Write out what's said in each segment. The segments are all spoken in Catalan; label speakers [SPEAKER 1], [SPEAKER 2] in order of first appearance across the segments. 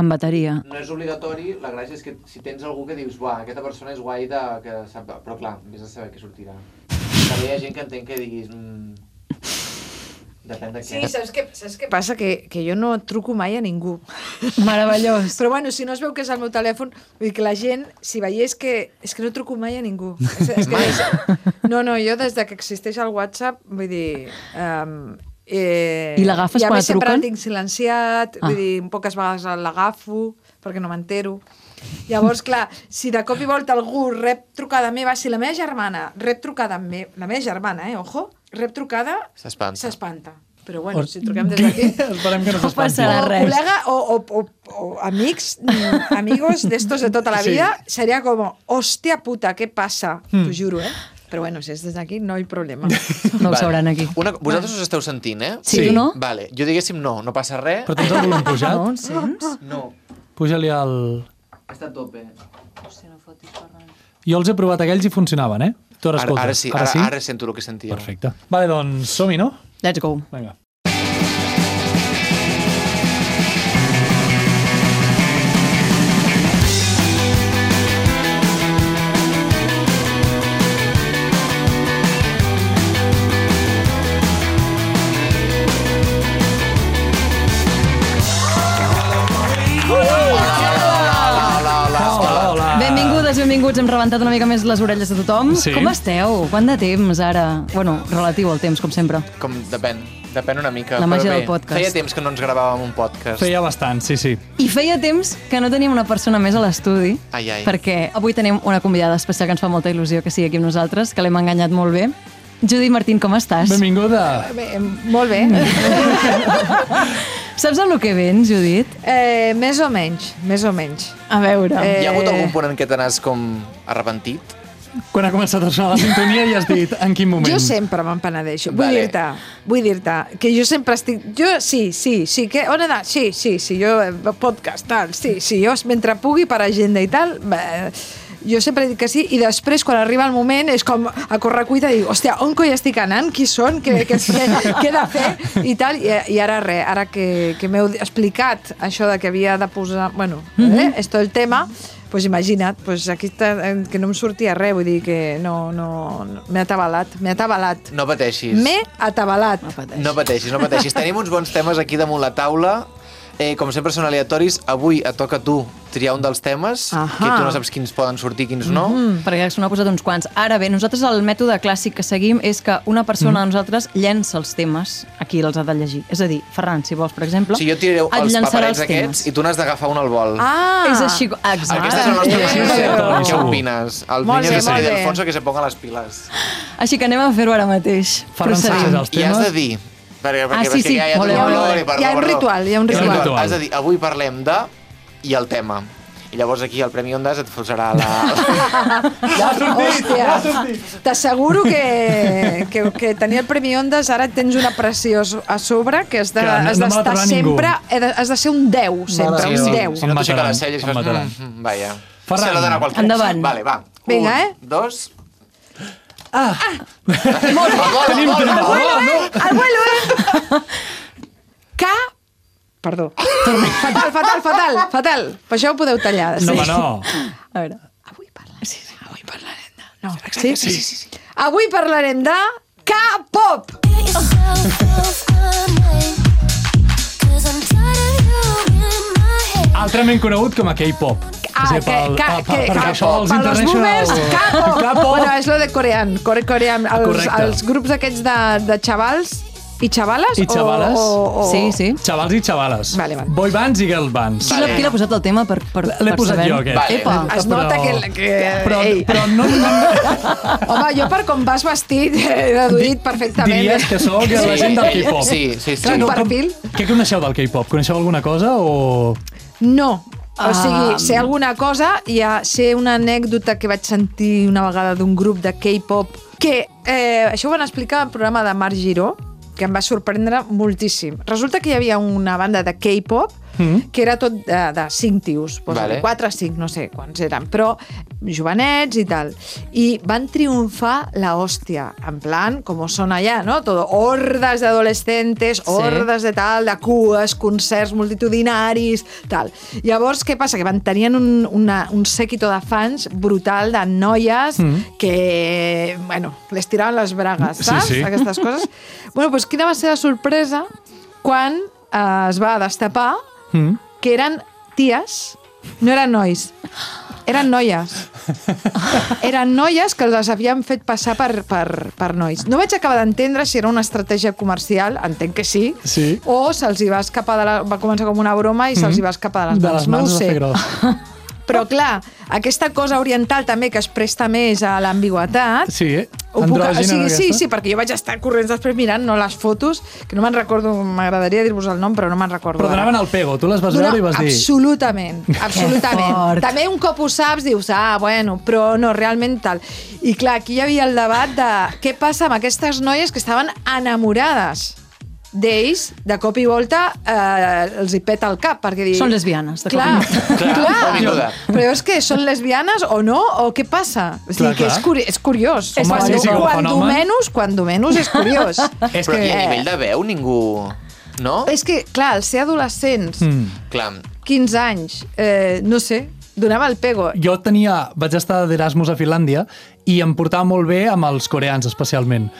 [SPEAKER 1] Amb bateria.
[SPEAKER 2] No és obligatori, la gràcia és que si tens algú que dius, buah, aquesta persona és guai de... que sap... Però clar, vés a saber què sortirà. També hi ha gent que entenc que diguis... Mm, depèn de
[SPEAKER 3] Sí,
[SPEAKER 2] què.
[SPEAKER 3] saps què, saps què Eh, passa? Que, que jo no truco mai a ningú.
[SPEAKER 1] Meravellós.
[SPEAKER 3] Però bueno, si no es veu que és el meu telèfon, vull dir que la gent, si veiés que... És que no truco mai a ningú. És, és que des, no, no, jo des de que existeix el WhatsApp, vull dir... Um, eh,
[SPEAKER 1] I l'agafes
[SPEAKER 3] i a
[SPEAKER 1] quan
[SPEAKER 3] més
[SPEAKER 1] et truquen?
[SPEAKER 3] sempre el tinc silenciat,
[SPEAKER 1] Ah.
[SPEAKER 3] vull dir, poques vegades l'agafo, perquè no m'entero. Llavors, clar, si de cop i volta algú rep trucada meva, si la meva germana rep trucada me, la meva germana, eh, ojo, rep trucada,
[SPEAKER 2] S'espanta.
[SPEAKER 3] s'espanta. Però bueno, si truquem des d'aquí...
[SPEAKER 4] Esperem que no s'espanti.
[SPEAKER 1] passarà.
[SPEAKER 3] O
[SPEAKER 1] res.
[SPEAKER 3] col·lega o, o, o, o amics, mm, amigos d'estos de tota la
[SPEAKER 4] Sí.
[SPEAKER 3] vida, seria com, hòstia puta, què passa? T'ho juro, eh? Però bueno, si és des d'aquí, no hi ha problema.
[SPEAKER 1] No ho sabran aquí.
[SPEAKER 2] Una, vosaltres us esteu sentint, eh?
[SPEAKER 1] Sí,
[SPEAKER 4] Sí.
[SPEAKER 1] tu no?
[SPEAKER 2] Vale, jo diguéssim no, no passa res.
[SPEAKER 4] Però tens el volum
[SPEAKER 3] Ah,
[SPEAKER 4] pujat?
[SPEAKER 1] No, en sents?
[SPEAKER 2] Ah, No,
[SPEAKER 4] Puja-li al...
[SPEAKER 2] està a tope.
[SPEAKER 4] Jo els he provat aquells i funcionaven, eh? Tu ara
[SPEAKER 2] Ara,
[SPEAKER 4] escolta.
[SPEAKER 2] ara sí, ara, ara, ara sento el que sentia.
[SPEAKER 4] Perfecte. Vale, doncs som-hi, no?
[SPEAKER 1] Let's go.
[SPEAKER 4] Vinga.
[SPEAKER 2] Hola, hola, hola.
[SPEAKER 4] Hola, hola.
[SPEAKER 1] Benvingudes, benvinguts. Hem rebentat una mica més les orelles de tothom.
[SPEAKER 4] Ah. Sí.
[SPEAKER 1] Com esteu? Quant de temps ara? Bueno, relatiu al temps, com sempre.
[SPEAKER 2] Com, depèn, depèn una mica.
[SPEAKER 1] La
[SPEAKER 2] però
[SPEAKER 1] màgia
[SPEAKER 2] bé,
[SPEAKER 1] del podcast.
[SPEAKER 2] Feia temps que no ens gravàvem un podcast.
[SPEAKER 4] Feia bastant, sí, sí.
[SPEAKER 1] I feia temps que no teníem una persona més a l'estudi,
[SPEAKER 2] Ai, ai.
[SPEAKER 1] perquè avui tenim una convidada especial que ens fa molta il·lusió que sigui aquí amb nosaltres, que l'hem enganyat molt bé. Judit Martín, com estàs?
[SPEAKER 4] Benvinguda.
[SPEAKER 3] Bé, em- molt bé.
[SPEAKER 1] Saps el que vens, Judit?
[SPEAKER 3] Eh, més o menys, més o menys.
[SPEAKER 1] A veure. Eh,
[SPEAKER 2] Ah, Hi ha hagut
[SPEAKER 3] Eh.
[SPEAKER 2] algun punt en què te n'has com arrepentit?
[SPEAKER 4] Quan ha començat a sonar la sintonia i has dit en quin moment.
[SPEAKER 3] Jo sempre me'n penedeixo. Vull
[SPEAKER 2] Vale.
[SPEAKER 3] dir-te, vull dir-te, que jo sempre estic... Jo, sí, sí, sí, que... On he anat? Sí, sí, sí, jo... eh, Podcast, tal, sí, sí, jo mentre pugui per agenda i tal... Eh, jo sempre dic que sí, i després, quan arriba el moment, és com a córrer cuita, dic, hòstia, on coi estic anant? Qui són? Què, què, què, què he de fer? I tal, i, i ara res, ara que, que m'heu explicat això de que havia de posar... Bueno, mm -hmm. eh, esto el tema, pues imagina't, pues aquí està, eh, que no em sortia res, vull dir que no, no, no m'he atabalat, m'he atabalat.
[SPEAKER 2] No pateixis.
[SPEAKER 3] M'he atabalat.
[SPEAKER 2] No pateixis, no pateixis. Tenim uns bons temes aquí damunt la taula. Eh, com sempre són aleatoris, avui et toca a tu triar un dels temes,
[SPEAKER 3] Ahà. Mm-hmm.
[SPEAKER 2] que tu no saps quins poden sortir, quins no. Mm
[SPEAKER 1] perquè se n'ha posat uns quants. Ara bé, nosaltres el mètode clàssic que seguim és que una
[SPEAKER 4] Mm.
[SPEAKER 1] persona de nosaltres llença els temes, aquí els ha de llegir. És a dir, Ferran, si vols, per exemple,
[SPEAKER 2] -hmm. Si jo tiraré
[SPEAKER 1] et
[SPEAKER 2] els
[SPEAKER 1] llançarà
[SPEAKER 2] paperets aquests i tu n'has d'agafar un al vol.
[SPEAKER 3] Ah!
[SPEAKER 1] És així... com- Exacte.
[SPEAKER 2] Aquesta és la nostra
[SPEAKER 3] Eh.
[SPEAKER 2] versió.
[SPEAKER 4] Eh.
[SPEAKER 2] Què opines? El
[SPEAKER 3] Molt
[SPEAKER 2] Vinyes
[SPEAKER 3] bé,
[SPEAKER 2] de Sant
[SPEAKER 3] molt bé. Ah.
[SPEAKER 2] Ildefonso que se ponga les piles.
[SPEAKER 1] Així que anem a fer-ho ara mateix.
[SPEAKER 4] Ferran Sánchez, els
[SPEAKER 2] I has de
[SPEAKER 4] temes...
[SPEAKER 2] dir... Perquè,
[SPEAKER 1] Ah,
[SPEAKER 2] perquè,
[SPEAKER 1] sí,
[SPEAKER 2] perquè
[SPEAKER 1] sí,
[SPEAKER 2] ja hi ha
[SPEAKER 1] molt
[SPEAKER 2] tot
[SPEAKER 1] bé,
[SPEAKER 2] un
[SPEAKER 1] molt
[SPEAKER 2] ordre,
[SPEAKER 3] bé.
[SPEAKER 2] perdó,
[SPEAKER 3] Hi ha un
[SPEAKER 2] perdó.
[SPEAKER 3] ritual, hi ha un
[SPEAKER 2] Hi
[SPEAKER 4] ritual.
[SPEAKER 2] Has de dir, avui parlem de... i el tema. I llavors aquí el Premi Ondas et posarà la...
[SPEAKER 3] Ja ha sortit, ja ha sortit. T'asseguro que, que, que tenir el Premi Ondas ara tens una pressió so- a sobre que has de-
[SPEAKER 4] Que no-
[SPEAKER 3] has
[SPEAKER 4] no me
[SPEAKER 3] d'estar
[SPEAKER 4] l'aturarà ningú.
[SPEAKER 3] sempre... he de- Has de ser un 10, sempre,
[SPEAKER 4] Vale.
[SPEAKER 2] Sí,
[SPEAKER 3] un
[SPEAKER 2] sí.
[SPEAKER 3] 10.
[SPEAKER 2] Si no t'aixeca
[SPEAKER 4] Em mataran,
[SPEAKER 2] la cella i
[SPEAKER 4] em
[SPEAKER 2] fas...
[SPEAKER 4] mataran.
[SPEAKER 2] Mm, mm, vaya.
[SPEAKER 4] Ferran.
[SPEAKER 2] Se lo dona qualcú.
[SPEAKER 1] Endavant.
[SPEAKER 2] Vale, va.
[SPEAKER 3] Vinga,
[SPEAKER 2] Un,
[SPEAKER 3] eh?
[SPEAKER 2] dos... Ah! Molt bé. Tenim
[SPEAKER 3] Al vuelo, eh? Que... Perdó. Fatal, fatal, fatal, fatal. Per això ho podeu tallar.
[SPEAKER 4] Oh, No,
[SPEAKER 3] sí.
[SPEAKER 4] home, no.
[SPEAKER 1] A veure.
[SPEAKER 3] Avui parlarem, sí, sí. avui parlarem de... No, sí? Sí, sí, sí, sí. Avui parlarem de K-pop.
[SPEAKER 4] Altrament conegut com a K-pop.
[SPEAKER 3] Ah,
[SPEAKER 4] O
[SPEAKER 3] que,
[SPEAKER 4] sigui, pel-
[SPEAKER 3] que,
[SPEAKER 4] pel-
[SPEAKER 3] que,
[SPEAKER 4] perquè
[SPEAKER 3] K-pop.
[SPEAKER 4] això els
[SPEAKER 3] Per
[SPEAKER 4] Oh.
[SPEAKER 3] los
[SPEAKER 4] international...
[SPEAKER 3] boomers, K-pop.
[SPEAKER 4] K-pop.
[SPEAKER 3] Bueno, és lo de corean, core, corean. Els,
[SPEAKER 4] Ah, Correcte.
[SPEAKER 3] els grups aquests de, de xavals i xavales?
[SPEAKER 4] I xavales.
[SPEAKER 3] O, o,
[SPEAKER 4] oh.
[SPEAKER 3] o...
[SPEAKER 1] Sí, sí.
[SPEAKER 4] Xavals i xavales.
[SPEAKER 3] Vale, vale.
[SPEAKER 4] Boy bands i girl bands.
[SPEAKER 1] Qui l'ha qui l'ha posat el tema per, per,
[SPEAKER 4] L'he
[SPEAKER 1] per
[SPEAKER 4] posat
[SPEAKER 1] saber?
[SPEAKER 4] jo, aquest.
[SPEAKER 2] Vale.
[SPEAKER 1] Epa.
[SPEAKER 3] Eh, Es nota
[SPEAKER 4] Però-
[SPEAKER 3] que... que
[SPEAKER 4] Però,
[SPEAKER 3] ei,
[SPEAKER 4] però no, no
[SPEAKER 3] home, jo per com vas vestit eh, he deduït perfectament.
[SPEAKER 4] diries que sóc
[SPEAKER 2] Sí.
[SPEAKER 4] la gent del K-pop.
[SPEAKER 2] Sí, sí, sí.
[SPEAKER 3] Clar, no, perfil.
[SPEAKER 4] Què coneixeu del K-pop? Coneixeu alguna cosa o...
[SPEAKER 3] No. O
[SPEAKER 1] Ah.
[SPEAKER 3] sigui, sé alguna cosa i ja sé una anècdota que vaig sentir una vegada d'un grup de K-pop que, eh, això ho van explicar al programa de Marc Giró, que em va sorprendre moltíssim. Resulta que hi havia una banda de K-pop
[SPEAKER 4] Mhm.
[SPEAKER 3] que era tot de, de cinc tios, doncs,
[SPEAKER 2] Vale.
[SPEAKER 3] vale. quatre o cinc, no sé quants eren, però jovenets i tal. I van triomfar la hòstia, en plan, com són allà, no? Todo, hordes d'adolescentes,
[SPEAKER 1] Sí.
[SPEAKER 3] hordes de tal, de cues, concerts multitudinaris, tal. Llavors, què passa? Que van, tenien un, una, un séquito de fans brutal de noies
[SPEAKER 4] Mm.
[SPEAKER 3] que, bueno, les tiraven les bragues,
[SPEAKER 4] Sí,
[SPEAKER 3] saps?
[SPEAKER 4] sí.
[SPEAKER 3] Aquestes coses. bueno, doncs quina va ser la sorpresa quan eh, es va destapar
[SPEAKER 4] Mm.
[SPEAKER 3] que eren ties, no eren nois, eren noies. Eren noies que les havien fet passar per, per, per nois. No vaig acabar d'entendre si era una estratègia comercial, entenc que sí,
[SPEAKER 4] Sí. Mm-hmm.
[SPEAKER 3] o se'ls hi va escapar de la... va començar com una broma i se'ls hi va escapar de les
[SPEAKER 4] De
[SPEAKER 3] mans.
[SPEAKER 4] les
[SPEAKER 3] no
[SPEAKER 4] mans
[SPEAKER 3] ho
[SPEAKER 4] es va
[SPEAKER 3] sé.
[SPEAKER 4] fer gros.
[SPEAKER 3] Però clar, aquesta cosa oriental també que es presta més a l'ambigüetat,
[SPEAKER 4] Sí, eh?
[SPEAKER 3] ho puc-
[SPEAKER 4] Andrògina,
[SPEAKER 3] o sigui, sí,
[SPEAKER 4] aquesta?
[SPEAKER 3] sí, perquè jo vaig estar corrents després mirant no, les fotos, que no me'n recordo, m'agradaria dir-vos el nom, però no me'n recordo.
[SPEAKER 4] Però
[SPEAKER 3] ara.
[SPEAKER 4] donaven el pego. Tu les vas
[SPEAKER 3] Dona-
[SPEAKER 4] veure i vas dir...
[SPEAKER 3] Absolutament, absolutament.
[SPEAKER 1] fort.
[SPEAKER 3] També un cop ho saps dius, ah, bueno, però no, realment tal. I clar, aquí hi havia el debat de què passa amb aquestes noies que estaven enamorades d'ells, de cop i volta eh, els hi peta el cap, perquè dir...
[SPEAKER 1] Són lesbianes, de cop i
[SPEAKER 3] clar,
[SPEAKER 1] volta.
[SPEAKER 2] Clar,
[SPEAKER 3] clar,
[SPEAKER 2] benvinguda.
[SPEAKER 3] però és que són lesbianes o no, o què passa? O sigui,
[SPEAKER 4] Clar,
[SPEAKER 3] que
[SPEAKER 4] clar.
[SPEAKER 3] és, curi és curiós.
[SPEAKER 4] Home,
[SPEAKER 3] quan,
[SPEAKER 4] sí, sí, com a
[SPEAKER 3] quan
[SPEAKER 4] fenomen.
[SPEAKER 3] menys, quan menys és curiós.
[SPEAKER 4] És
[SPEAKER 2] Però
[SPEAKER 4] que...
[SPEAKER 2] i
[SPEAKER 3] eh.
[SPEAKER 2] a nivell de veu ningú... No?
[SPEAKER 3] és que, clar, al ser adolescents,
[SPEAKER 4] Mm.
[SPEAKER 2] Clar,
[SPEAKER 3] 15 anys, eh, no sé, donava el pego.
[SPEAKER 4] Jo tenia... Vaig estar d'Erasmus a Finlàndia i em portava molt bé amb els coreans, especialment.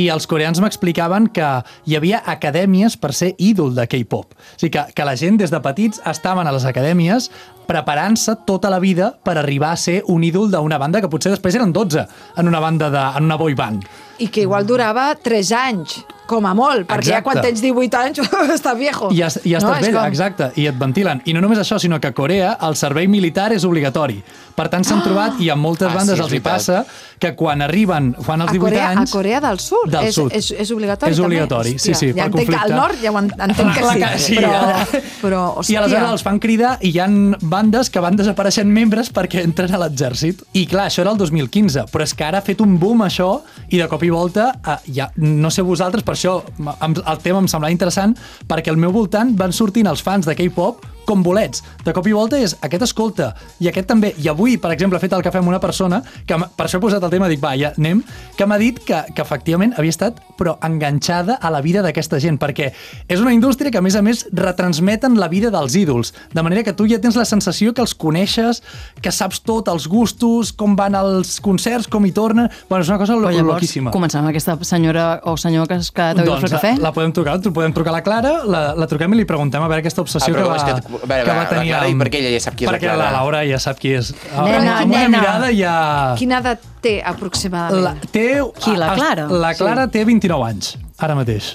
[SPEAKER 4] I els coreans m'explicaven que hi havia acadèmies per ser ídol de K-pop. O sigui que, que la gent des de petits estaven a les acadèmies preparant-se tota la vida per arribar a ser un ídol d'una banda que potser després eren 12 en una banda de, en una boy band.
[SPEAKER 3] I que igual durava 3 anys, com a molt, perquè ja
[SPEAKER 4] Exacte.
[SPEAKER 3] quan tens 18 anys estàs viejo.
[SPEAKER 4] I, es, i estàs
[SPEAKER 3] és
[SPEAKER 4] no, vell, exacte, i et ventilen. I no només això, sinó que a Corea el servei militar és obligatori. Per tant, s'han trobat, i a moltes
[SPEAKER 2] Ah,
[SPEAKER 4] bandes
[SPEAKER 2] sí, és
[SPEAKER 4] els hi
[SPEAKER 2] veritat.
[SPEAKER 4] passa, que quan arriben, quan els
[SPEAKER 3] A
[SPEAKER 4] 18
[SPEAKER 3] Corea,
[SPEAKER 4] anys...
[SPEAKER 3] a Corea del Sud,
[SPEAKER 4] Del
[SPEAKER 3] és,
[SPEAKER 4] Sud.
[SPEAKER 3] És, és obligatori
[SPEAKER 4] És obligatori,
[SPEAKER 3] també.
[SPEAKER 4] sí, sí,
[SPEAKER 3] ja
[SPEAKER 4] per
[SPEAKER 3] entenc
[SPEAKER 4] conflicte.
[SPEAKER 3] que al nord ja ho en- entenc que
[SPEAKER 4] Clar
[SPEAKER 3] sí,
[SPEAKER 4] que sí,
[SPEAKER 3] però,
[SPEAKER 4] ja.
[SPEAKER 3] però,
[SPEAKER 4] I
[SPEAKER 3] hòstia,
[SPEAKER 4] aleshores els fan cridar i hi han bandes que van desapareixent membres perquè entren a l'exèrcit. I clar, això era el 2015, però és que ara ha fet un boom això i de cop i volta, eh, ja, no sé vosaltres, per això m- em- el tema em semblava interessant, perquè al meu voltant van sortint els fans de K-pop com bolets. De cop i volta és aquest escolta i aquest també. I avui, per exemple, he fet el cafè amb una persona que m'ha- per això he posat el tema, dic, va, ja anem, que m'ha dit que, que efectivament havia estat però enganxada a la vida d'aquesta gent, perquè és una indústria que, a més a més, retransmeten la vida dels ídols, de manera que tu ja tens la sensació que els coneixes, que saps tot, els gustos, com van els concerts, com hi tornen... Bueno, és una cosa lo
[SPEAKER 1] Però llavors,
[SPEAKER 4] loquíssima. Doncs
[SPEAKER 1] començant amb aquesta senyora o senyor que has quedat a beure el
[SPEAKER 4] la,
[SPEAKER 1] cafè...
[SPEAKER 4] la podem trucar, tu- podem trucar a la Clara, la, la truquem i li preguntem a veure aquesta obsessió
[SPEAKER 2] Ah, però
[SPEAKER 4] que va,
[SPEAKER 2] és que- a veure,
[SPEAKER 4] que va
[SPEAKER 2] la
[SPEAKER 4] tenir...
[SPEAKER 2] Clara, i
[SPEAKER 4] amb-
[SPEAKER 2] perquè ella ja sap qui és la
[SPEAKER 4] perquè
[SPEAKER 2] Clara.
[SPEAKER 4] la Laura ja sap qui és.
[SPEAKER 1] Nena,
[SPEAKER 4] amb una
[SPEAKER 1] nena.
[SPEAKER 4] mirada ja...
[SPEAKER 3] Quina edat té,
[SPEAKER 4] La,
[SPEAKER 3] aproximadament?
[SPEAKER 4] té,
[SPEAKER 1] Qui, la Clara?
[SPEAKER 4] La Clara sí. té 29 anys, ara mateix.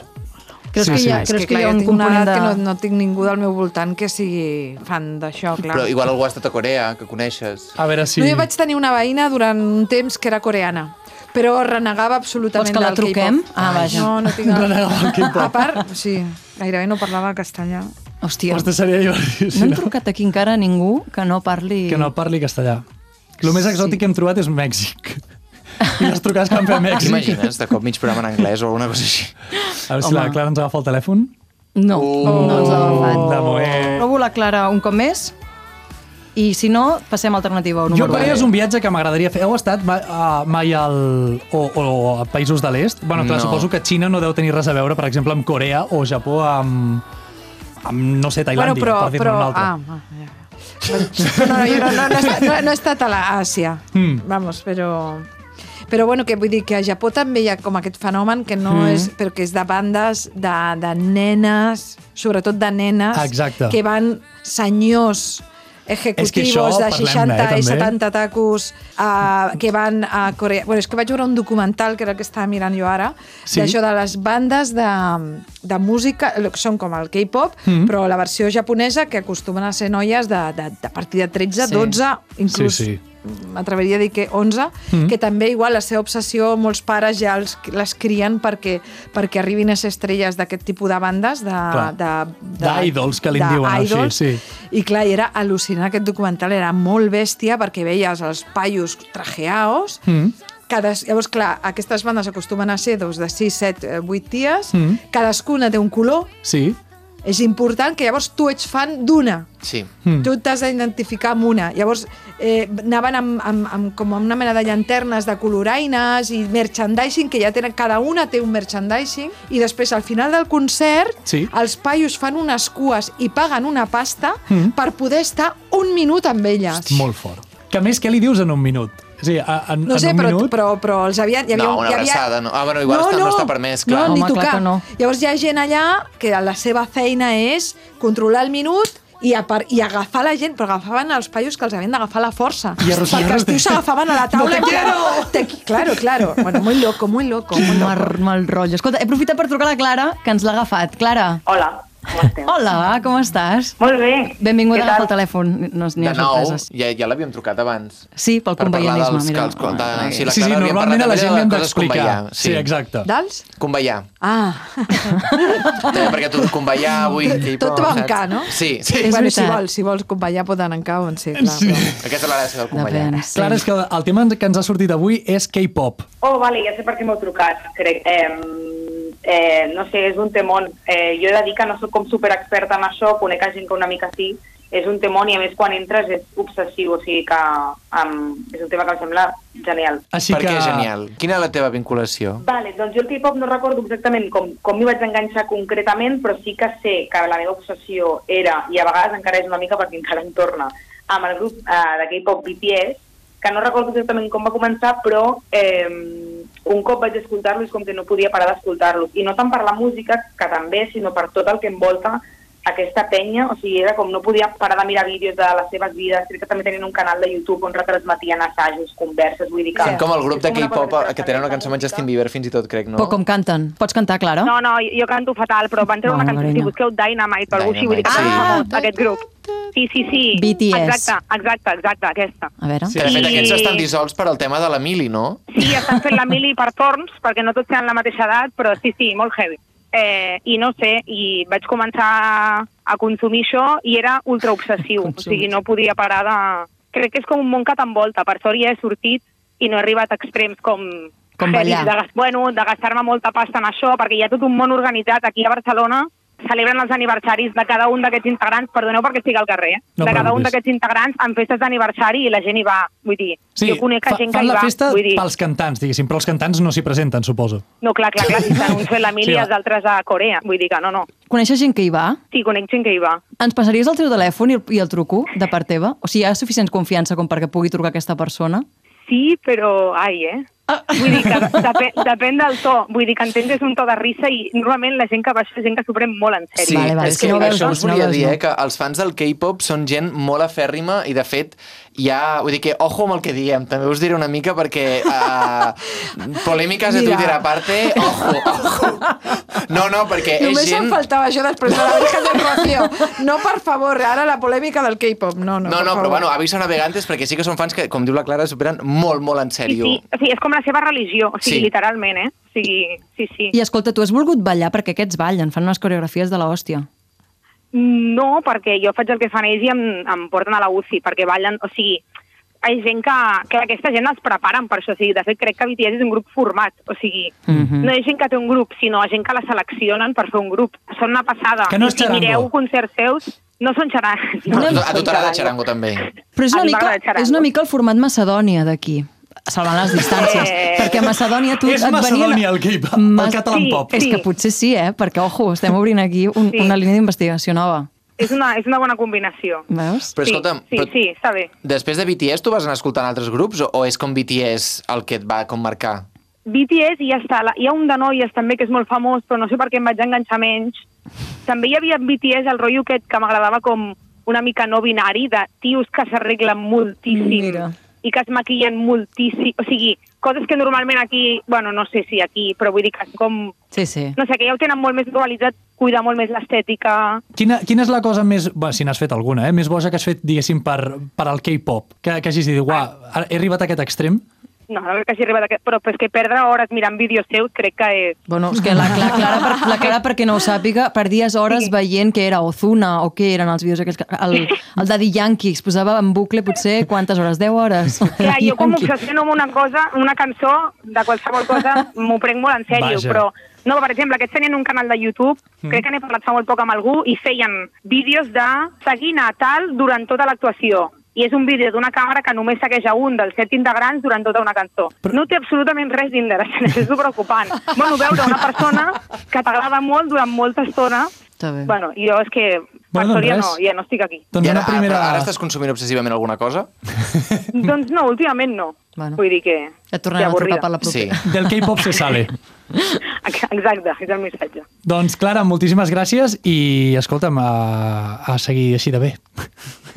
[SPEAKER 1] Creus
[SPEAKER 4] Sí,
[SPEAKER 1] que
[SPEAKER 4] sí.
[SPEAKER 1] hi ha,
[SPEAKER 4] És
[SPEAKER 1] creus que hi
[SPEAKER 3] clar,
[SPEAKER 1] ha
[SPEAKER 3] jo
[SPEAKER 1] un
[SPEAKER 3] tinc una edat
[SPEAKER 1] component de...
[SPEAKER 3] que no, no tinc ningú del meu voltant que sigui fan d'això, clar.
[SPEAKER 2] però igual algú ha estat a Corea, que coneixes.
[SPEAKER 4] A veure si...
[SPEAKER 3] No, jo vaig tenir una veïna durant un temps que era coreana, però renegava absolutament
[SPEAKER 1] Vols que la
[SPEAKER 3] del K-pop.
[SPEAKER 1] truquem? Ah, vaja.
[SPEAKER 3] No, no tinc...
[SPEAKER 4] Renegava el K-pop.
[SPEAKER 3] A part, sí, gairebé no parlava castellà.
[SPEAKER 1] Hòstia,
[SPEAKER 4] Ostres, seria
[SPEAKER 1] no
[SPEAKER 4] divertíssim.
[SPEAKER 1] hem trucat aquí encara a ningú que no parli...
[SPEAKER 4] Que no parli castellà. El més exòtic
[SPEAKER 3] Sí.
[SPEAKER 4] que hem trobat és Mèxic. I les trucades que vam fer a Mèxic.
[SPEAKER 2] T'imagines, de cop mig programa en anglès o alguna cosa així?
[SPEAKER 4] A veure si la
[SPEAKER 1] Home.
[SPEAKER 4] Clara ens agafa el telèfon.
[SPEAKER 1] No,
[SPEAKER 4] Oh.
[SPEAKER 1] no ens l'ha agafat.
[SPEAKER 4] De moment.
[SPEAKER 1] Provo la Clara un cop més i si no, passem a alternativa o
[SPEAKER 4] Jo
[SPEAKER 1] número
[SPEAKER 4] per
[SPEAKER 1] u.
[SPEAKER 4] és un viatge que m'agradaria fer. Heu estat mai, uh, mai al, o, o, o a països de l'est? Bueno, clar,
[SPEAKER 2] No.
[SPEAKER 4] suposo que Xina no deu tenir res a veure, per exemple, amb Corea o Japó amb, amb no sé, Tailàndia, per dir-ne un altre.
[SPEAKER 3] Ah, ah, ja, ja. Però No, no, jo no, no, no, he estat, no, no he estat a l'Àsia.
[SPEAKER 4] Mm.
[SPEAKER 3] Vamos, però... Però bueno, que vull dir que a Japó també hi ha com aquest fenomen que no
[SPEAKER 4] Hmm.
[SPEAKER 3] mm. és... Però que és de bandes de, de nenes, sobretot de nenes,
[SPEAKER 4] Ah, Exacte.
[SPEAKER 3] que van senyors
[SPEAKER 4] És que això
[SPEAKER 3] executius de
[SPEAKER 4] parlem-ne,
[SPEAKER 3] 60
[SPEAKER 4] eh,
[SPEAKER 3] i
[SPEAKER 4] també.
[SPEAKER 3] 70 tacos uh, que van a Corea. Bueno, és que vaig veure un documental, que era el que estava mirant jo ara,
[SPEAKER 4] Sí.
[SPEAKER 3] sí. d'això de les bandes de, de música, el que són com el K-pop, mm. però la versió japonesa, que acostumen a ser noies de, de, de partir de 13,
[SPEAKER 1] Sí.
[SPEAKER 3] sí. 12, inclús
[SPEAKER 4] Sí, sí.
[SPEAKER 3] m'atreviria a dir que 11, mm. que també igual la seva obsessió, molts pares ja els, les crien perquè, perquè arribin a ser estrelles d'aquest tipus de bandes, de...
[SPEAKER 4] Clar.
[SPEAKER 3] de, de
[SPEAKER 4] D'idols, que li en
[SPEAKER 3] de
[SPEAKER 4] diuen, així,
[SPEAKER 3] idols.
[SPEAKER 4] sí.
[SPEAKER 3] I clar, i era al·lucinant aquest documental, era molt bèstia perquè veies els paios trajeaos,
[SPEAKER 4] Mm.
[SPEAKER 3] cada, llavors, clar, aquestes bandes acostumen a ser doncs, de 6, 7, 8 eh, dies,
[SPEAKER 4] Mm.
[SPEAKER 3] cadascuna té un color,
[SPEAKER 4] Sí,
[SPEAKER 3] És important que llavors tu ets fan d'una.
[SPEAKER 2] Sí.
[SPEAKER 4] Hmm.
[SPEAKER 3] Mm. Tu t'has d'identificar amb una. Llavors, eh, anaven amb, amb, amb, com amb una mena de llanternes de coloraines i merchandising, que ja tenen, cada una té un merchandising, i després al final del concert
[SPEAKER 4] Sí.
[SPEAKER 3] els paios fan unes cues i paguen una pasta mm. per poder estar un minut amb elles.
[SPEAKER 4] Hmm. Molt fort. Que a més, què li dius en un minut? O sigui, a- en,
[SPEAKER 3] No
[SPEAKER 4] en
[SPEAKER 3] sé,
[SPEAKER 4] un
[SPEAKER 3] però,
[SPEAKER 4] minut...
[SPEAKER 3] però, però els havia... Hi havia
[SPEAKER 2] No, una
[SPEAKER 3] hi havia...
[SPEAKER 2] abraçada, no. Ah, bueno, igual està- no està permès, clar.
[SPEAKER 3] No, ni
[SPEAKER 1] Home, clar
[SPEAKER 3] tocar.
[SPEAKER 1] que no.
[SPEAKER 3] Llavors hi ha gent allà que la seva feina és controlar el minut i, a par... i agafar la gent, però agafaven els paios que els havien d'agafar a la força.
[SPEAKER 4] I arrossegar-los.
[SPEAKER 3] perquè els tios s'agafaven a la taula.
[SPEAKER 4] No te
[SPEAKER 3] quiero! Te... qui- Claro, claro. Bueno, muy loco, muy loco. Muy
[SPEAKER 1] Quin
[SPEAKER 3] loco.
[SPEAKER 1] mar, mal rotllo. Escolta, he aprofitat per trucar a la Clara, que ens l'ha agafat. Clara,
[SPEAKER 5] Hola, com esteu?
[SPEAKER 1] hola, com estàs?
[SPEAKER 5] Molt bé.
[SPEAKER 1] Benvinguda,
[SPEAKER 5] Què tal?
[SPEAKER 1] agafa el telèfon, no n'hi
[SPEAKER 2] De
[SPEAKER 1] ha
[SPEAKER 2] nou,
[SPEAKER 1] sorpreses.
[SPEAKER 2] ja, ja l'havíem trucat abans.
[SPEAKER 1] Sí, pel
[SPEAKER 2] Per parlar
[SPEAKER 1] conveïanisme,
[SPEAKER 2] dels
[SPEAKER 1] mira.
[SPEAKER 2] que els conta-
[SPEAKER 1] Ah,
[SPEAKER 2] sí, la
[SPEAKER 4] sí, sí,
[SPEAKER 2] Clara havia
[SPEAKER 4] normalment a
[SPEAKER 2] parlat
[SPEAKER 4] la
[SPEAKER 2] també
[SPEAKER 4] gent
[SPEAKER 2] de
[SPEAKER 4] li hem
[SPEAKER 2] coses
[SPEAKER 4] d'explicar.
[SPEAKER 2] conveiar,
[SPEAKER 4] Sí.
[SPEAKER 2] sí.
[SPEAKER 4] exacte.
[SPEAKER 3] Dels?
[SPEAKER 2] Conveiar.
[SPEAKER 3] Ah,
[SPEAKER 2] També perquè tu conveiar avui... hip-hop,
[SPEAKER 3] Tot va en
[SPEAKER 2] saps?
[SPEAKER 3] ca, no?
[SPEAKER 2] Sí, sí.
[SPEAKER 1] És
[SPEAKER 3] bueno, si
[SPEAKER 1] veritat.
[SPEAKER 3] vols, si vols companyar poden en cau, sí, clar.
[SPEAKER 4] Sí.
[SPEAKER 3] però-
[SPEAKER 2] Aquesta és la gràcia del
[SPEAKER 1] Depèn,
[SPEAKER 2] conveiar.
[SPEAKER 1] sí.
[SPEAKER 4] Clara, és que el tema que ens ha sortit avui és K-pop.
[SPEAKER 5] Oh, vale, ja sé per què m'heu trucat, crec. Eh, eh, no sé, és un temón. Eh, jo he de dir que no sóc com superexperta en això, conec a gent que una mica sí, és un temón i a més quan entres és obsessiu, o sigui que um, és un tema que em sembla genial.
[SPEAKER 4] Així
[SPEAKER 2] per
[SPEAKER 4] que...
[SPEAKER 2] què genial? Quina és la teva vinculació?
[SPEAKER 5] Vale, doncs jo el K-pop no recordo exactament com, com m'hi vaig enganxar concretament, però sí que sé que la meva obsessió era, i a vegades encara és una mica perquè encara em torna, amb el grup eh, de K-pop BTS, que no recordo exactament com va començar, però eh, un cop vaig escoltar-lo i és com que no podia parar d'escoltar-lo. I no tant per la música, que també, sinó per tot el que envolta aquesta penya, o sigui, era com no podia parar de mirar vídeos de les seves vides, crec que també tenien un canal de YouTube on retransmetien assajos, converses, vull dir que...
[SPEAKER 2] Són com el grup de
[SPEAKER 5] És com una cosa
[SPEAKER 2] K-pop eh, que tenen una
[SPEAKER 5] interessant,
[SPEAKER 2] cançó amb en
[SPEAKER 5] música.
[SPEAKER 2] Justin Bieber fins i tot, crec, no?
[SPEAKER 1] Però com canten? Pots cantar, Clara?
[SPEAKER 5] No, no, jo canto fatal, però van treure una
[SPEAKER 1] Bueno,
[SPEAKER 5] cançó, si
[SPEAKER 1] Lorena.
[SPEAKER 5] busqueu Dynamite, per algú així, vull dir que
[SPEAKER 1] sí.
[SPEAKER 2] Dynamite,
[SPEAKER 5] ah, aquest grup. Sí, sí, sí.
[SPEAKER 1] BTS.
[SPEAKER 5] Exacte, exacte, exacte, aquesta.
[SPEAKER 1] A veure.
[SPEAKER 2] Sí, de fet,
[SPEAKER 5] Sí.
[SPEAKER 2] aquests estan dissolts per al tema de l'Emili, no?
[SPEAKER 5] Sí, estan fent la mili per torns, perquè no tots tenen la mateixa edat, però sí, sí, molt heavy. Eh, I no sé, i vaig començar a consumir això i era ultra obsessiu, o sigui, no podia parar de... Crec que és com un món que t'envolta, per sort ja he sortit i no he arribat a extrems com...
[SPEAKER 1] Com
[SPEAKER 5] heavy,
[SPEAKER 1] ballar.
[SPEAKER 5] de, gas- bueno, de gastar-me molta pasta en això, perquè hi ha tot un món organitzat aquí a Barcelona celebren els aniversaris de cada un d'aquests integrants, perdoneu perquè estic al carrer, eh?
[SPEAKER 4] No
[SPEAKER 5] de cada un
[SPEAKER 4] preocupis.
[SPEAKER 5] d'aquests integrants en festes d'aniversari i la gent hi va, vull dir,
[SPEAKER 4] Sí,
[SPEAKER 5] jo conec
[SPEAKER 4] fa,
[SPEAKER 5] a gent
[SPEAKER 4] fan
[SPEAKER 5] que hi
[SPEAKER 4] la
[SPEAKER 5] va,
[SPEAKER 4] festa
[SPEAKER 5] vull dir...
[SPEAKER 4] pels cantants, diguéssim, però els cantants no s'hi presenten, suposo.
[SPEAKER 5] No, clar, clar, clar, si estan uns fent la mili
[SPEAKER 4] Sí,
[SPEAKER 5] i
[SPEAKER 4] va.
[SPEAKER 5] els altres a Corea. Vull dir que no, no.
[SPEAKER 1] Coneixes gent que hi va?
[SPEAKER 5] Sí, conec gent que hi va.
[SPEAKER 1] Ens passaries el teu telèfon i el, i el truco de part teva? O sigui, hi ha suficient confiança com perquè pugui trucar aquesta persona?
[SPEAKER 5] Sí, però... Ai, eh? Vull dir que depèn, depèn del to. Vull dir que entens és un to de risa i normalment la gent que va això és gent que s'ho pren molt en sèrio.
[SPEAKER 1] Sí. Vale, vale,
[SPEAKER 2] és
[SPEAKER 1] si
[SPEAKER 2] que
[SPEAKER 1] no veus,
[SPEAKER 2] això
[SPEAKER 1] no,
[SPEAKER 2] us
[SPEAKER 1] si no
[SPEAKER 2] volia
[SPEAKER 1] veus,
[SPEAKER 2] dir,
[SPEAKER 1] no.
[SPEAKER 2] eh, que els fans del K-pop són gent molt afèrrima i, de fet, hi ha... Vull dir que, ojo amb el que diem, també us diré una mica perquè uh, polèmiques de
[SPEAKER 3] Mira.
[SPEAKER 2] Twitter a parte, ojo, ojo. No, no, perquè
[SPEAKER 3] Només
[SPEAKER 2] és gent...
[SPEAKER 3] em faltava això després de la beca del Rocío. No, per favor, eh, ara la polèmica del K-pop. No,
[SPEAKER 2] No,
[SPEAKER 3] no, ah. per
[SPEAKER 2] no,
[SPEAKER 3] favor.
[SPEAKER 2] però bueno, avisa navegantes perquè sí que són fans que, com diu la Clara, s'ho prenen molt, molt en
[SPEAKER 5] Sí,
[SPEAKER 2] sèrio.
[SPEAKER 5] sí, o sigui, és com la seva religió, o sigui,
[SPEAKER 2] Sí.
[SPEAKER 5] sí. literalment, eh? O sigui, sí, sí.
[SPEAKER 1] I escolta, tu has volgut ballar perquè aquests ballen, fan unes coreografies de la hòstia.
[SPEAKER 5] No, perquè jo faig el que fan ells i em, em porten a la UCI, perquè ballen, o sigui, hi ha gent que, que aquesta gent els preparen per això, o sigui, de fet crec que BTS és un grup format, o sigui, mm
[SPEAKER 4] Mhm.
[SPEAKER 5] -hmm. no hi ha gent que té un grup, sinó gent que la seleccionen per fer un grup. Són una passada.
[SPEAKER 4] Que no és
[SPEAKER 5] I si
[SPEAKER 4] charango.
[SPEAKER 5] mireu concerts seus, no són xarangos. No,
[SPEAKER 2] A
[SPEAKER 5] no
[SPEAKER 2] tu- a tota tu
[SPEAKER 5] són
[SPEAKER 2] t'agrada
[SPEAKER 5] xarangos.
[SPEAKER 2] xarango, també.
[SPEAKER 1] Però és una,
[SPEAKER 5] Ens agrada
[SPEAKER 1] mica,
[SPEAKER 5] xarango.
[SPEAKER 1] és una mica el format Macedònia d'aquí, salvant les distàncies.
[SPEAKER 5] Eh.
[SPEAKER 1] Perquè a Macedònia tu
[SPEAKER 4] és
[SPEAKER 1] et venien...
[SPEAKER 4] Macedònia el K-pop, el
[SPEAKER 1] Mas-
[SPEAKER 4] catalan
[SPEAKER 5] Sí.
[SPEAKER 4] pop.
[SPEAKER 1] És que potser sí, eh? Perquè, ojo, estem obrint aquí un,
[SPEAKER 5] Sí.
[SPEAKER 1] una línia d'investigació nova.
[SPEAKER 5] És una, és una bona combinació.
[SPEAKER 1] Veus?
[SPEAKER 2] Però
[SPEAKER 5] sí,
[SPEAKER 2] escolta'm,
[SPEAKER 5] sí,
[SPEAKER 2] però-
[SPEAKER 5] sí, està bé.
[SPEAKER 2] Després de BTS, tu vas anar escoltant altres grups o, o és com BTS el que et va com marcar?
[SPEAKER 5] BTS i ja està. La- Hi ha un de noies també que és molt famós, però no sé per què em vaig enganxar menys. També hi havia en BTS el rotllo aquest que m'agradava com una mica no binari, de tios que s'arreglen moltíssim
[SPEAKER 1] Mira.
[SPEAKER 5] i que es maquillen moltíssim. O sigui, coses que normalment aquí, bueno, no sé si aquí, però vull dir que és com...
[SPEAKER 1] Sí, sí.
[SPEAKER 5] No sé, que ja ho tenen molt més globalitzat, cuida molt més l'estètica.
[SPEAKER 4] Quina, quina és la cosa més, bé, si n'has fet alguna, eh, més boja que has fet, diguéssim, per, per al K-pop? Que, que hagis dit, uah, ara he arribat a aquest extrem?
[SPEAKER 5] No, no crec que hagi arribat a... aquest- Però és que perdre hores mirant vídeos seus crec que és...
[SPEAKER 1] Bueno, és que la, la, Clara, per, la Clara, perquè no ho sàpiga, perdies hores sí. veient que era Ozuna o què eren els vídeos aquells... que- El, el Daddy Yankee es posava en bucle potser quantes hores? 10 hores?
[SPEAKER 5] Clar, jo com
[SPEAKER 1] Yankee.
[SPEAKER 5] m'obsessiono amb una cosa, una cançó, de qualsevol cosa, m'ho prenc molt en sèrio,
[SPEAKER 4] Vaja. Mm.
[SPEAKER 5] però... No, per exemple, aquests tenien un canal de YouTube, crec que n'he parlat fa molt poc amb algú, i feien vídeos de seguint a tal durant tota l'actuació. I és un vídeo d'una càmera que només segueix a un dels set integrants durant tota una cançó.
[SPEAKER 4] Però-
[SPEAKER 5] No té absolutament res d'interessant, és preocupant. bueno, veure una persona que t'agrada molt durant molta estona...
[SPEAKER 1] Està bé.
[SPEAKER 5] Bueno, jo és que... Per
[SPEAKER 4] Bueno, doncs
[SPEAKER 5] sort ja
[SPEAKER 4] res.
[SPEAKER 5] no, ja no estic aquí.
[SPEAKER 4] Doncs
[SPEAKER 2] I ara, ah,
[SPEAKER 4] una primera...
[SPEAKER 2] ara, ara estàs consumint obsessivament alguna cosa?
[SPEAKER 5] doncs no, últimament no.
[SPEAKER 1] Bueno.
[SPEAKER 5] Vull dir que...
[SPEAKER 1] Et tornarem a
[SPEAKER 5] que
[SPEAKER 1] trucar per la
[SPEAKER 2] Sí.
[SPEAKER 1] propera.
[SPEAKER 4] Del K-pop se sale.
[SPEAKER 5] Exacte, és el missatge.
[SPEAKER 4] Doncs Clara, moltíssimes gràcies i escolta'm, a, a seguir així de bé.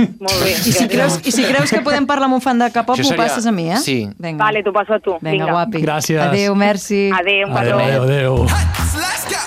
[SPEAKER 5] Molt bé.
[SPEAKER 1] I si, creus, I si creus que podem parlar amb un fan de cap
[SPEAKER 2] Això
[SPEAKER 1] m'ho
[SPEAKER 2] seria-
[SPEAKER 1] passes a mi, eh?
[SPEAKER 2] sí.
[SPEAKER 1] Vinga,
[SPEAKER 5] Vale, t'ho passo a tu.
[SPEAKER 1] Vinga, guapi.
[SPEAKER 4] Gràcies.
[SPEAKER 1] Adéu, merci.
[SPEAKER 5] Adéu, un petó.
[SPEAKER 4] Adéu, adéu, adéu.
[SPEAKER 6] Let's go.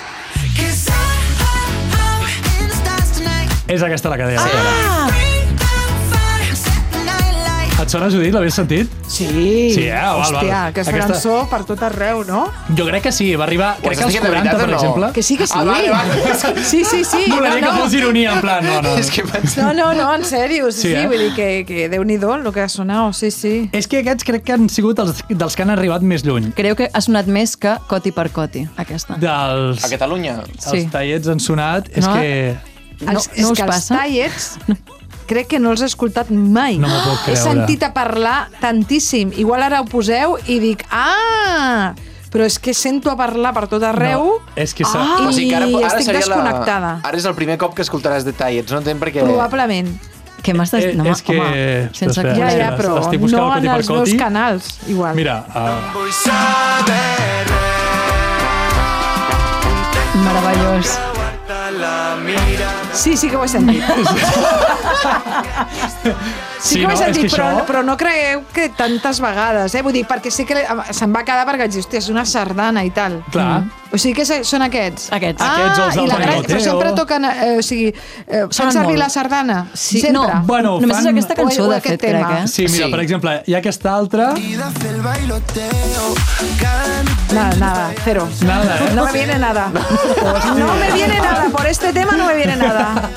[SPEAKER 6] Cause I, I, I'm in the stars tonight.
[SPEAKER 4] És aquesta la cadena.
[SPEAKER 1] Ah!
[SPEAKER 6] Bring out fire, set the night light.
[SPEAKER 5] Ah!
[SPEAKER 4] Et sona, Judit? L'havies sentit?
[SPEAKER 3] Sí,
[SPEAKER 4] Sí, eh? Val, val.
[SPEAKER 3] hòstia, aquesta,
[SPEAKER 4] Aquesta-
[SPEAKER 3] cançó per tot arreu, no?
[SPEAKER 4] Jo crec que sí, va arribar...
[SPEAKER 2] Ho
[SPEAKER 4] Crec
[SPEAKER 2] estàs
[SPEAKER 4] que als
[SPEAKER 2] dient de
[SPEAKER 4] 40,
[SPEAKER 2] veritat o
[SPEAKER 4] per
[SPEAKER 2] no?
[SPEAKER 4] exemple.
[SPEAKER 3] Que Eh, sí, que sí.
[SPEAKER 2] Ah, vale, vale.
[SPEAKER 3] Sí, sí, sí.
[SPEAKER 4] M'agradaria
[SPEAKER 3] no,
[SPEAKER 4] que fos
[SPEAKER 3] no.
[SPEAKER 4] ironia, en plan, no, no.
[SPEAKER 2] És que pensa...
[SPEAKER 3] No, no, no, en sèrio, sí,
[SPEAKER 4] Sí,
[SPEAKER 3] sí,
[SPEAKER 4] eh?
[SPEAKER 3] vull dir que, que Déu-n'hi-do el que ha sonat, sí, sí.
[SPEAKER 4] És que aquests crec que han sigut els, dels que han arribat més lluny.
[SPEAKER 1] Creu que ha sonat més que Coti per Coti, aquesta.
[SPEAKER 4] Dels
[SPEAKER 2] A Catalunya?
[SPEAKER 1] Sí.
[SPEAKER 4] els tallets han sonat. És
[SPEAKER 1] No.
[SPEAKER 3] eh?
[SPEAKER 4] que...
[SPEAKER 1] No,
[SPEAKER 3] Els, és
[SPEAKER 1] no us
[SPEAKER 3] que
[SPEAKER 1] passa?
[SPEAKER 3] els tallets crec que no els he escoltat mai.
[SPEAKER 4] No m'ho puc
[SPEAKER 3] He
[SPEAKER 4] creure.
[SPEAKER 3] sentit a parlar tantíssim. Igual ara ho poseu i dic, ah, però és que sento a parlar per tot arreu.
[SPEAKER 4] No, és que s'ha-
[SPEAKER 3] ah,
[SPEAKER 2] O sigui que
[SPEAKER 3] ara, i estic
[SPEAKER 2] seria
[SPEAKER 3] desconnectada.
[SPEAKER 2] La... Ara és el primer cop que escoltaràs detallets, no entenc per què...
[SPEAKER 3] Probablement.
[SPEAKER 1] Què m'estàs...
[SPEAKER 4] Eh,
[SPEAKER 1] No,
[SPEAKER 4] és que-
[SPEAKER 1] home, sense
[SPEAKER 4] espera,
[SPEAKER 3] Ja,
[SPEAKER 4] sí,
[SPEAKER 3] ja,
[SPEAKER 4] les-
[SPEAKER 3] però
[SPEAKER 4] les estic buscant
[SPEAKER 3] no
[SPEAKER 4] al Coti
[SPEAKER 3] en
[SPEAKER 4] per
[SPEAKER 3] els
[SPEAKER 4] Coti.
[SPEAKER 3] meus canals, igual.
[SPEAKER 4] Mira, uh,
[SPEAKER 6] Vull saber
[SPEAKER 1] Meravellós.
[SPEAKER 6] aguanta la mirada.
[SPEAKER 3] Sí, sí que ho he sentit. sí,
[SPEAKER 4] Sí,
[SPEAKER 3] que ho he
[SPEAKER 4] no? És
[SPEAKER 3] sentit,
[SPEAKER 4] que
[SPEAKER 3] però,
[SPEAKER 4] això-
[SPEAKER 3] però no cregueu que tantes vegades, eh? Vull dir, perquè sí que eh, se'm va quedar perquè vaig dir, hòstia, és una sardana i tal. Mm.
[SPEAKER 4] Clar.
[SPEAKER 3] O sigui que se- són aquests.
[SPEAKER 1] Aquests.
[SPEAKER 3] Ah,
[SPEAKER 4] Aquests, els del
[SPEAKER 3] i la gran-
[SPEAKER 4] Ricoteo.
[SPEAKER 3] Però sempre toquen... Eh, o sigui, eh,
[SPEAKER 1] Sonen
[SPEAKER 3] fan servir
[SPEAKER 1] molt.
[SPEAKER 3] la sardana.
[SPEAKER 1] Sí, no,
[SPEAKER 3] sempre.
[SPEAKER 4] bueno,
[SPEAKER 1] només
[SPEAKER 4] fan-
[SPEAKER 1] és aquesta cançó,
[SPEAKER 3] O- o
[SPEAKER 1] de
[SPEAKER 3] aquest
[SPEAKER 1] fet, crec,
[SPEAKER 3] tema.
[SPEAKER 1] eh?
[SPEAKER 4] sí, mira,
[SPEAKER 2] Sí.
[SPEAKER 4] per exemple, hi ha aquesta altra...
[SPEAKER 6] Y hace el bailoteo. Cada noche
[SPEAKER 3] Nada, nada, cero.
[SPEAKER 4] Nada, eh?
[SPEAKER 3] No me viene nada. No me viene nada. Por este tema no me viene nada.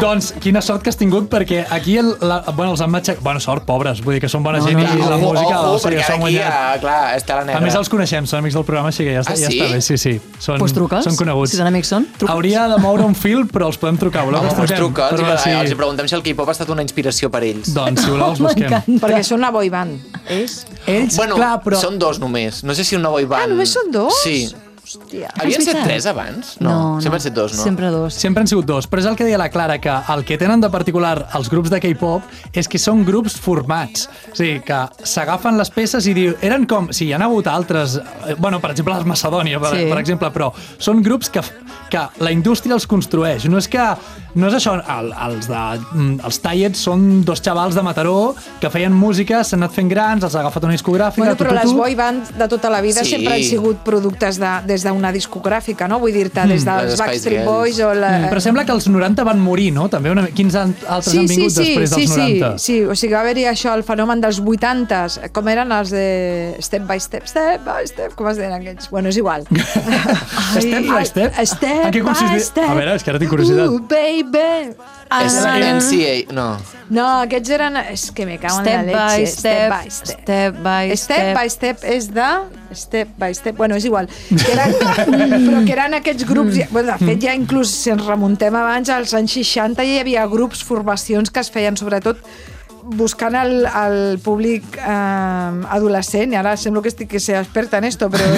[SPEAKER 4] doncs quina sort que has tingut perquè aquí el, la, bueno, els han matxacat... Bueno, sort, pobres, vull dir que són bona gent i la música...
[SPEAKER 2] Ojo,
[SPEAKER 4] o sigui,
[SPEAKER 2] perquè
[SPEAKER 4] s'ho han
[SPEAKER 2] ara aquí,
[SPEAKER 4] guanyat.
[SPEAKER 2] ah, clar, està la negra.
[SPEAKER 4] A més, els coneixem, són amics del programa, així que ja, està,
[SPEAKER 2] Ah,
[SPEAKER 4] ja
[SPEAKER 2] sí?
[SPEAKER 4] està bé. Sí, sí. Són,
[SPEAKER 1] Doncs truca'ls.
[SPEAKER 4] són coneguts.
[SPEAKER 1] Si són amics són, truca'ls.
[SPEAKER 4] Hauria de moure un fil, però els podem trucar. Voleu
[SPEAKER 2] No,
[SPEAKER 4] que els
[SPEAKER 2] els
[SPEAKER 4] truquem?
[SPEAKER 2] truca, els,
[SPEAKER 4] Però
[SPEAKER 2] hi-
[SPEAKER 4] sí.
[SPEAKER 2] els hi preguntem si el K-pop ha estat una inspiració per ells.
[SPEAKER 4] Doncs, si voleu, els busquem.
[SPEAKER 3] Perquè són una boy band. És?
[SPEAKER 4] Ells,
[SPEAKER 2] bueno,
[SPEAKER 4] clar, però...
[SPEAKER 2] són dos només. No sé si una boy band...
[SPEAKER 3] Ah, només són dos?
[SPEAKER 2] Sí.
[SPEAKER 3] Hòstia.
[SPEAKER 2] Havien
[SPEAKER 1] És
[SPEAKER 2] set
[SPEAKER 1] veritat.
[SPEAKER 2] tres abans? No, sempre han set dos, no?
[SPEAKER 1] Sempre dos.
[SPEAKER 4] Sempre han sigut dos, però és el que deia la Clara, que el que tenen de particular els grups de K-pop és que són grups formats. O sigui, que s'agafen les peces i diu... Eren com... Sí, hi ha hagut altres... eh, Bueno, per exemple, les Macedònia, per,
[SPEAKER 1] Sí.
[SPEAKER 4] per exemple, però són grups que, f- que la indústria els construeix. No és que... No és això... El, els de... mm, Els Tallets són dos xavals de Mataró que feien música, s'han anat fent grans, els ha agafat una discogràfica...
[SPEAKER 3] Bueno, però
[SPEAKER 4] tu, tu,
[SPEAKER 3] les
[SPEAKER 4] tu.
[SPEAKER 3] boy bands de tota la vida
[SPEAKER 2] Sí.
[SPEAKER 3] sí. sempre han sigut productes de, des d'una discogràfica, no? Vull dir-te, des dels
[SPEAKER 2] Les Spice
[SPEAKER 3] Backstreet
[SPEAKER 2] Girls.
[SPEAKER 3] Boys o la...
[SPEAKER 4] Mm. Però sembla que els 90 van morir, no? També una... mi- Quins an- altres han vingut després dels
[SPEAKER 3] sí,
[SPEAKER 4] 90?
[SPEAKER 3] Sí, sí, o sigui, va haver-hi això, el fenomen dels 80s, eh, com eren els de Step by Step, Step by Step, com es deien aquells? Bueno, és igual. Ai,
[SPEAKER 4] Step by Step?
[SPEAKER 3] ai, Step
[SPEAKER 4] En
[SPEAKER 3] by
[SPEAKER 4] què consistia?
[SPEAKER 3] Step.
[SPEAKER 4] A veure, és que ara tinc curiositat.
[SPEAKER 3] Uh, baby. Ah,
[SPEAKER 2] És
[SPEAKER 1] Ah.
[SPEAKER 2] NCA, no.
[SPEAKER 3] no, aquests eren... És que me cago en la
[SPEAKER 1] Step by
[SPEAKER 3] leche.
[SPEAKER 1] step, step by
[SPEAKER 3] Step by step és de... Step by step, bueno, és igual. Que eren, però que eren aquests grups... ja- Bueno, de fet, ja inclús, si ens remuntem abans, als anys 60 ja hi havia grups, formacions que es feien sobretot buscant el, el públic eh, adolescent, i ara sembla que estic que sea experta en esto, però...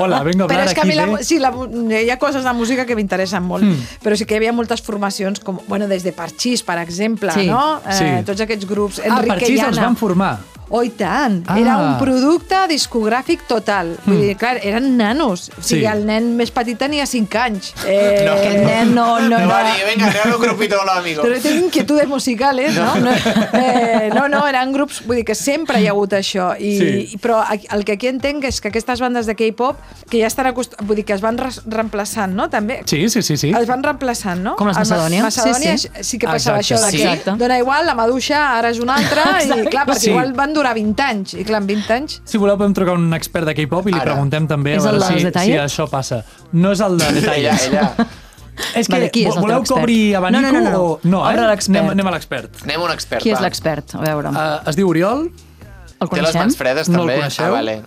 [SPEAKER 4] Hola, vengo a
[SPEAKER 3] Però
[SPEAKER 4] Ah, hablar
[SPEAKER 3] és que a
[SPEAKER 4] aquí
[SPEAKER 3] mi la,
[SPEAKER 4] de... Hmm.
[SPEAKER 3] mu- sí, la, mu- hi ha coses de música que m'interessen molt, mm. però sí que hi havia moltes formacions, com, bueno, des de Parchís, per exemple,
[SPEAKER 1] Sí,
[SPEAKER 3] no?
[SPEAKER 4] sí.
[SPEAKER 3] Eh, tots aquests grups,
[SPEAKER 4] Ah,
[SPEAKER 3] Enrique
[SPEAKER 4] per Xis els
[SPEAKER 3] Llana.
[SPEAKER 4] van formar.
[SPEAKER 3] Oh, i tant!
[SPEAKER 4] Ah. Hmm.
[SPEAKER 3] Ah. Era un producte discogràfic total. Vull dir, clar, eren nanos. O sigui,
[SPEAKER 4] Sí.
[SPEAKER 3] sí. el nen més petit tenia 5 anys. Eh,
[SPEAKER 2] No.
[SPEAKER 3] el nen no, no, no.
[SPEAKER 2] venga, crear un grupito, hola, amigo.
[SPEAKER 3] Però té inquietudes musicales, no? No, eh, no, no, eren grups... Vull dir que sempre hi ha hagut això. I,
[SPEAKER 4] Sí.
[SPEAKER 3] sí. Però aquí- el que aquí entenc és que aquestes bandes de K-pop, que ja estan acost... Vull dir que es van res- reemplaçant, no? També.
[SPEAKER 4] Sí, sí, sí, sí.
[SPEAKER 3] Es van reemplaçant, no?
[SPEAKER 1] Com les
[SPEAKER 3] El Mas-
[SPEAKER 1] Macedònia.
[SPEAKER 3] Macedònia
[SPEAKER 1] Sí,
[SPEAKER 3] sí,
[SPEAKER 1] sí.
[SPEAKER 3] sí. sí que passava
[SPEAKER 4] Exacte,
[SPEAKER 3] Exacte, això de
[SPEAKER 1] sí.
[SPEAKER 3] que
[SPEAKER 1] Exacte.
[SPEAKER 3] dona igual, la maduixa ara és una altra, i clar, perquè
[SPEAKER 4] Sí.
[SPEAKER 3] igual van durar 20 anys. I clar, en 20 anys...
[SPEAKER 4] Si voleu podem trucar un expert de K-pop i li
[SPEAKER 2] Ara.
[SPEAKER 4] preguntem també a
[SPEAKER 1] És el
[SPEAKER 4] veure
[SPEAKER 1] dels
[SPEAKER 4] si, si
[SPEAKER 1] detallets?
[SPEAKER 4] això passa. No és el de
[SPEAKER 2] Ella,
[SPEAKER 4] detalles.
[SPEAKER 2] ella...
[SPEAKER 4] És que
[SPEAKER 1] Vale, qui és el teu
[SPEAKER 4] voleu que
[SPEAKER 1] expert?
[SPEAKER 4] obri abanico
[SPEAKER 1] No, no, no, no.
[SPEAKER 4] o... No, eh?
[SPEAKER 1] Obre l'expert.
[SPEAKER 4] Anem, anem a l'expert.
[SPEAKER 2] Anem a un expert,
[SPEAKER 1] Qui és
[SPEAKER 2] va.
[SPEAKER 1] l'expert? A veure,
[SPEAKER 4] Uh, es diu Oriol.
[SPEAKER 1] el
[SPEAKER 2] Té les
[SPEAKER 1] coneixem?
[SPEAKER 2] mans fredes,
[SPEAKER 4] No el
[SPEAKER 2] també?
[SPEAKER 4] coneixeu?
[SPEAKER 2] Ah, vale.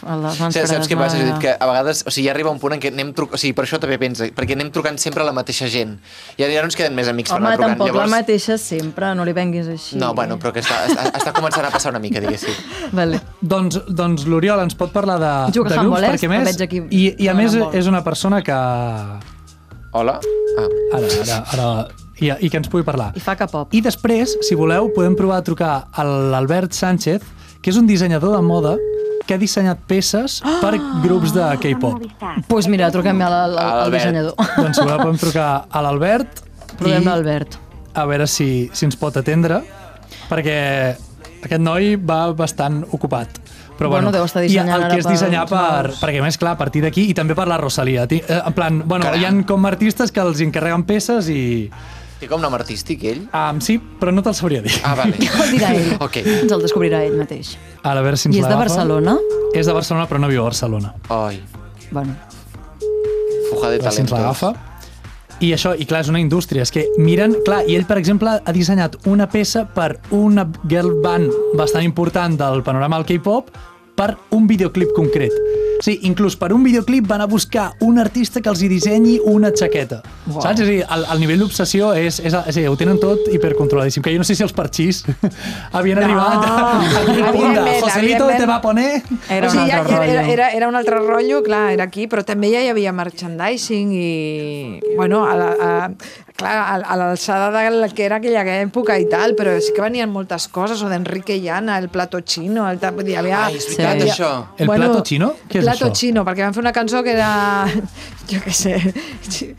[SPEAKER 1] El de les
[SPEAKER 2] O
[SPEAKER 1] mans
[SPEAKER 2] sigui,
[SPEAKER 1] fredes.
[SPEAKER 2] saps què
[SPEAKER 1] no,
[SPEAKER 2] passa,
[SPEAKER 1] no,
[SPEAKER 2] Judit?
[SPEAKER 1] no.
[SPEAKER 2] Que a vegades, o sigui, ja arriba un punt en què anem trucant, o sigui, per això també pensa, perquè anem trucant sempre a la mateixa gent. Ja, ja no ens queden més amics per
[SPEAKER 1] Home,
[SPEAKER 2] anar trucant.
[SPEAKER 1] tampoc la mateixa sempre, no li venguis així.
[SPEAKER 2] No, bueno, però que està, està, està començant a passar una mica, diguéssim.
[SPEAKER 1] Vale.
[SPEAKER 4] Doncs, doncs l'Oriol ens pot parlar de,
[SPEAKER 1] Juga
[SPEAKER 4] de
[SPEAKER 1] a
[SPEAKER 4] grups,
[SPEAKER 1] handball, eh?
[SPEAKER 4] perquè a
[SPEAKER 1] El
[SPEAKER 4] més...
[SPEAKER 1] veig aquí
[SPEAKER 4] I, I a
[SPEAKER 1] jugant
[SPEAKER 4] més
[SPEAKER 1] a handball.
[SPEAKER 4] és una persona que...
[SPEAKER 2] Hola? Ah.
[SPEAKER 4] Ara, ara, ara... I, i que ens pugui parlar.
[SPEAKER 1] I fa que pop.
[SPEAKER 4] I després, si voleu, podem provar a trucar a l'Albert Sánchez, que és un dissenyador de moda que ha dissenyat peces per
[SPEAKER 1] Ah!
[SPEAKER 4] grups de K-pop.
[SPEAKER 1] Doncs pues mira, truquem al, al,
[SPEAKER 2] A
[SPEAKER 1] al
[SPEAKER 2] l'Albert.
[SPEAKER 1] dissenyador.
[SPEAKER 4] doncs si voleu podem trucar a l'Albert
[SPEAKER 1] Provem
[SPEAKER 4] i
[SPEAKER 1] l'Albert.
[SPEAKER 4] a veure si, si ens pot atendre, perquè aquest noi va bastant ocupat. Però
[SPEAKER 1] Bueno,
[SPEAKER 4] bueno,
[SPEAKER 1] deu estar
[SPEAKER 4] i
[SPEAKER 1] dissenyant
[SPEAKER 4] el
[SPEAKER 1] ara
[SPEAKER 4] que és
[SPEAKER 1] pels
[SPEAKER 4] dissenyar per,
[SPEAKER 1] nous.
[SPEAKER 4] perquè a més clar, a partir d'aquí i també per la Rosalia Ti- eh, en plan, bueno,
[SPEAKER 2] Caram.
[SPEAKER 4] hi han com artistes que els encarreguen peces i...
[SPEAKER 2] Té com nom artístic, ell?
[SPEAKER 4] Um, sí, però no te'l sabria dir
[SPEAKER 2] Ah, vale.
[SPEAKER 1] Ho dirà ell.
[SPEAKER 2] Ok.
[SPEAKER 1] Ens el descobrirà ell mateix.
[SPEAKER 4] Ara, a veure si ens
[SPEAKER 1] I és de
[SPEAKER 4] l'agafa.
[SPEAKER 1] Barcelona?
[SPEAKER 4] És de Barcelona però no viu a Barcelona
[SPEAKER 2] Oi,
[SPEAKER 1] Bueno,
[SPEAKER 2] fuja de
[SPEAKER 4] A veure si ens
[SPEAKER 2] talentos.
[SPEAKER 4] l'agafa. I això, i clar, és una indústria, és que miren... Clar, i ell, per exemple, ha dissenyat una peça per una girl band bastant important del panorama del K-pop per un videoclip concret. Sí, inclús per un videoclip van a buscar un artista que els hi dissenyi una jaqueta. Wow. Saps? És a dir, el, el nivell d'obsessió és, és, és a dir, ho tenen tot hipercontroladíssim. Que jo no sé si els parxís havien no. arribat a aquell punt de
[SPEAKER 3] Evidentment,
[SPEAKER 4] Joselito te
[SPEAKER 3] evidentment.
[SPEAKER 4] va a poner...
[SPEAKER 1] era
[SPEAKER 3] o
[SPEAKER 1] un
[SPEAKER 3] sigui,
[SPEAKER 1] altre
[SPEAKER 3] ja, ja
[SPEAKER 1] rotllo.
[SPEAKER 3] era, era, era un altre rotllo, clar, era aquí, però també ja hi havia merchandising i, bueno, a la, a, clar, a, a l'alçada del que era aquella època i tal, però sí que venien moltes coses, o d'Enrique Llana, el plato chino, el, tal, vull dir, hi havia...
[SPEAKER 4] Ah,
[SPEAKER 2] Ai, és veritat,
[SPEAKER 1] Sí.
[SPEAKER 2] sí. això.
[SPEAKER 4] El plato chino? Què és
[SPEAKER 3] plato
[SPEAKER 4] això?
[SPEAKER 3] chino, perquè van fer una cançó que era... Jo què sé... Chi,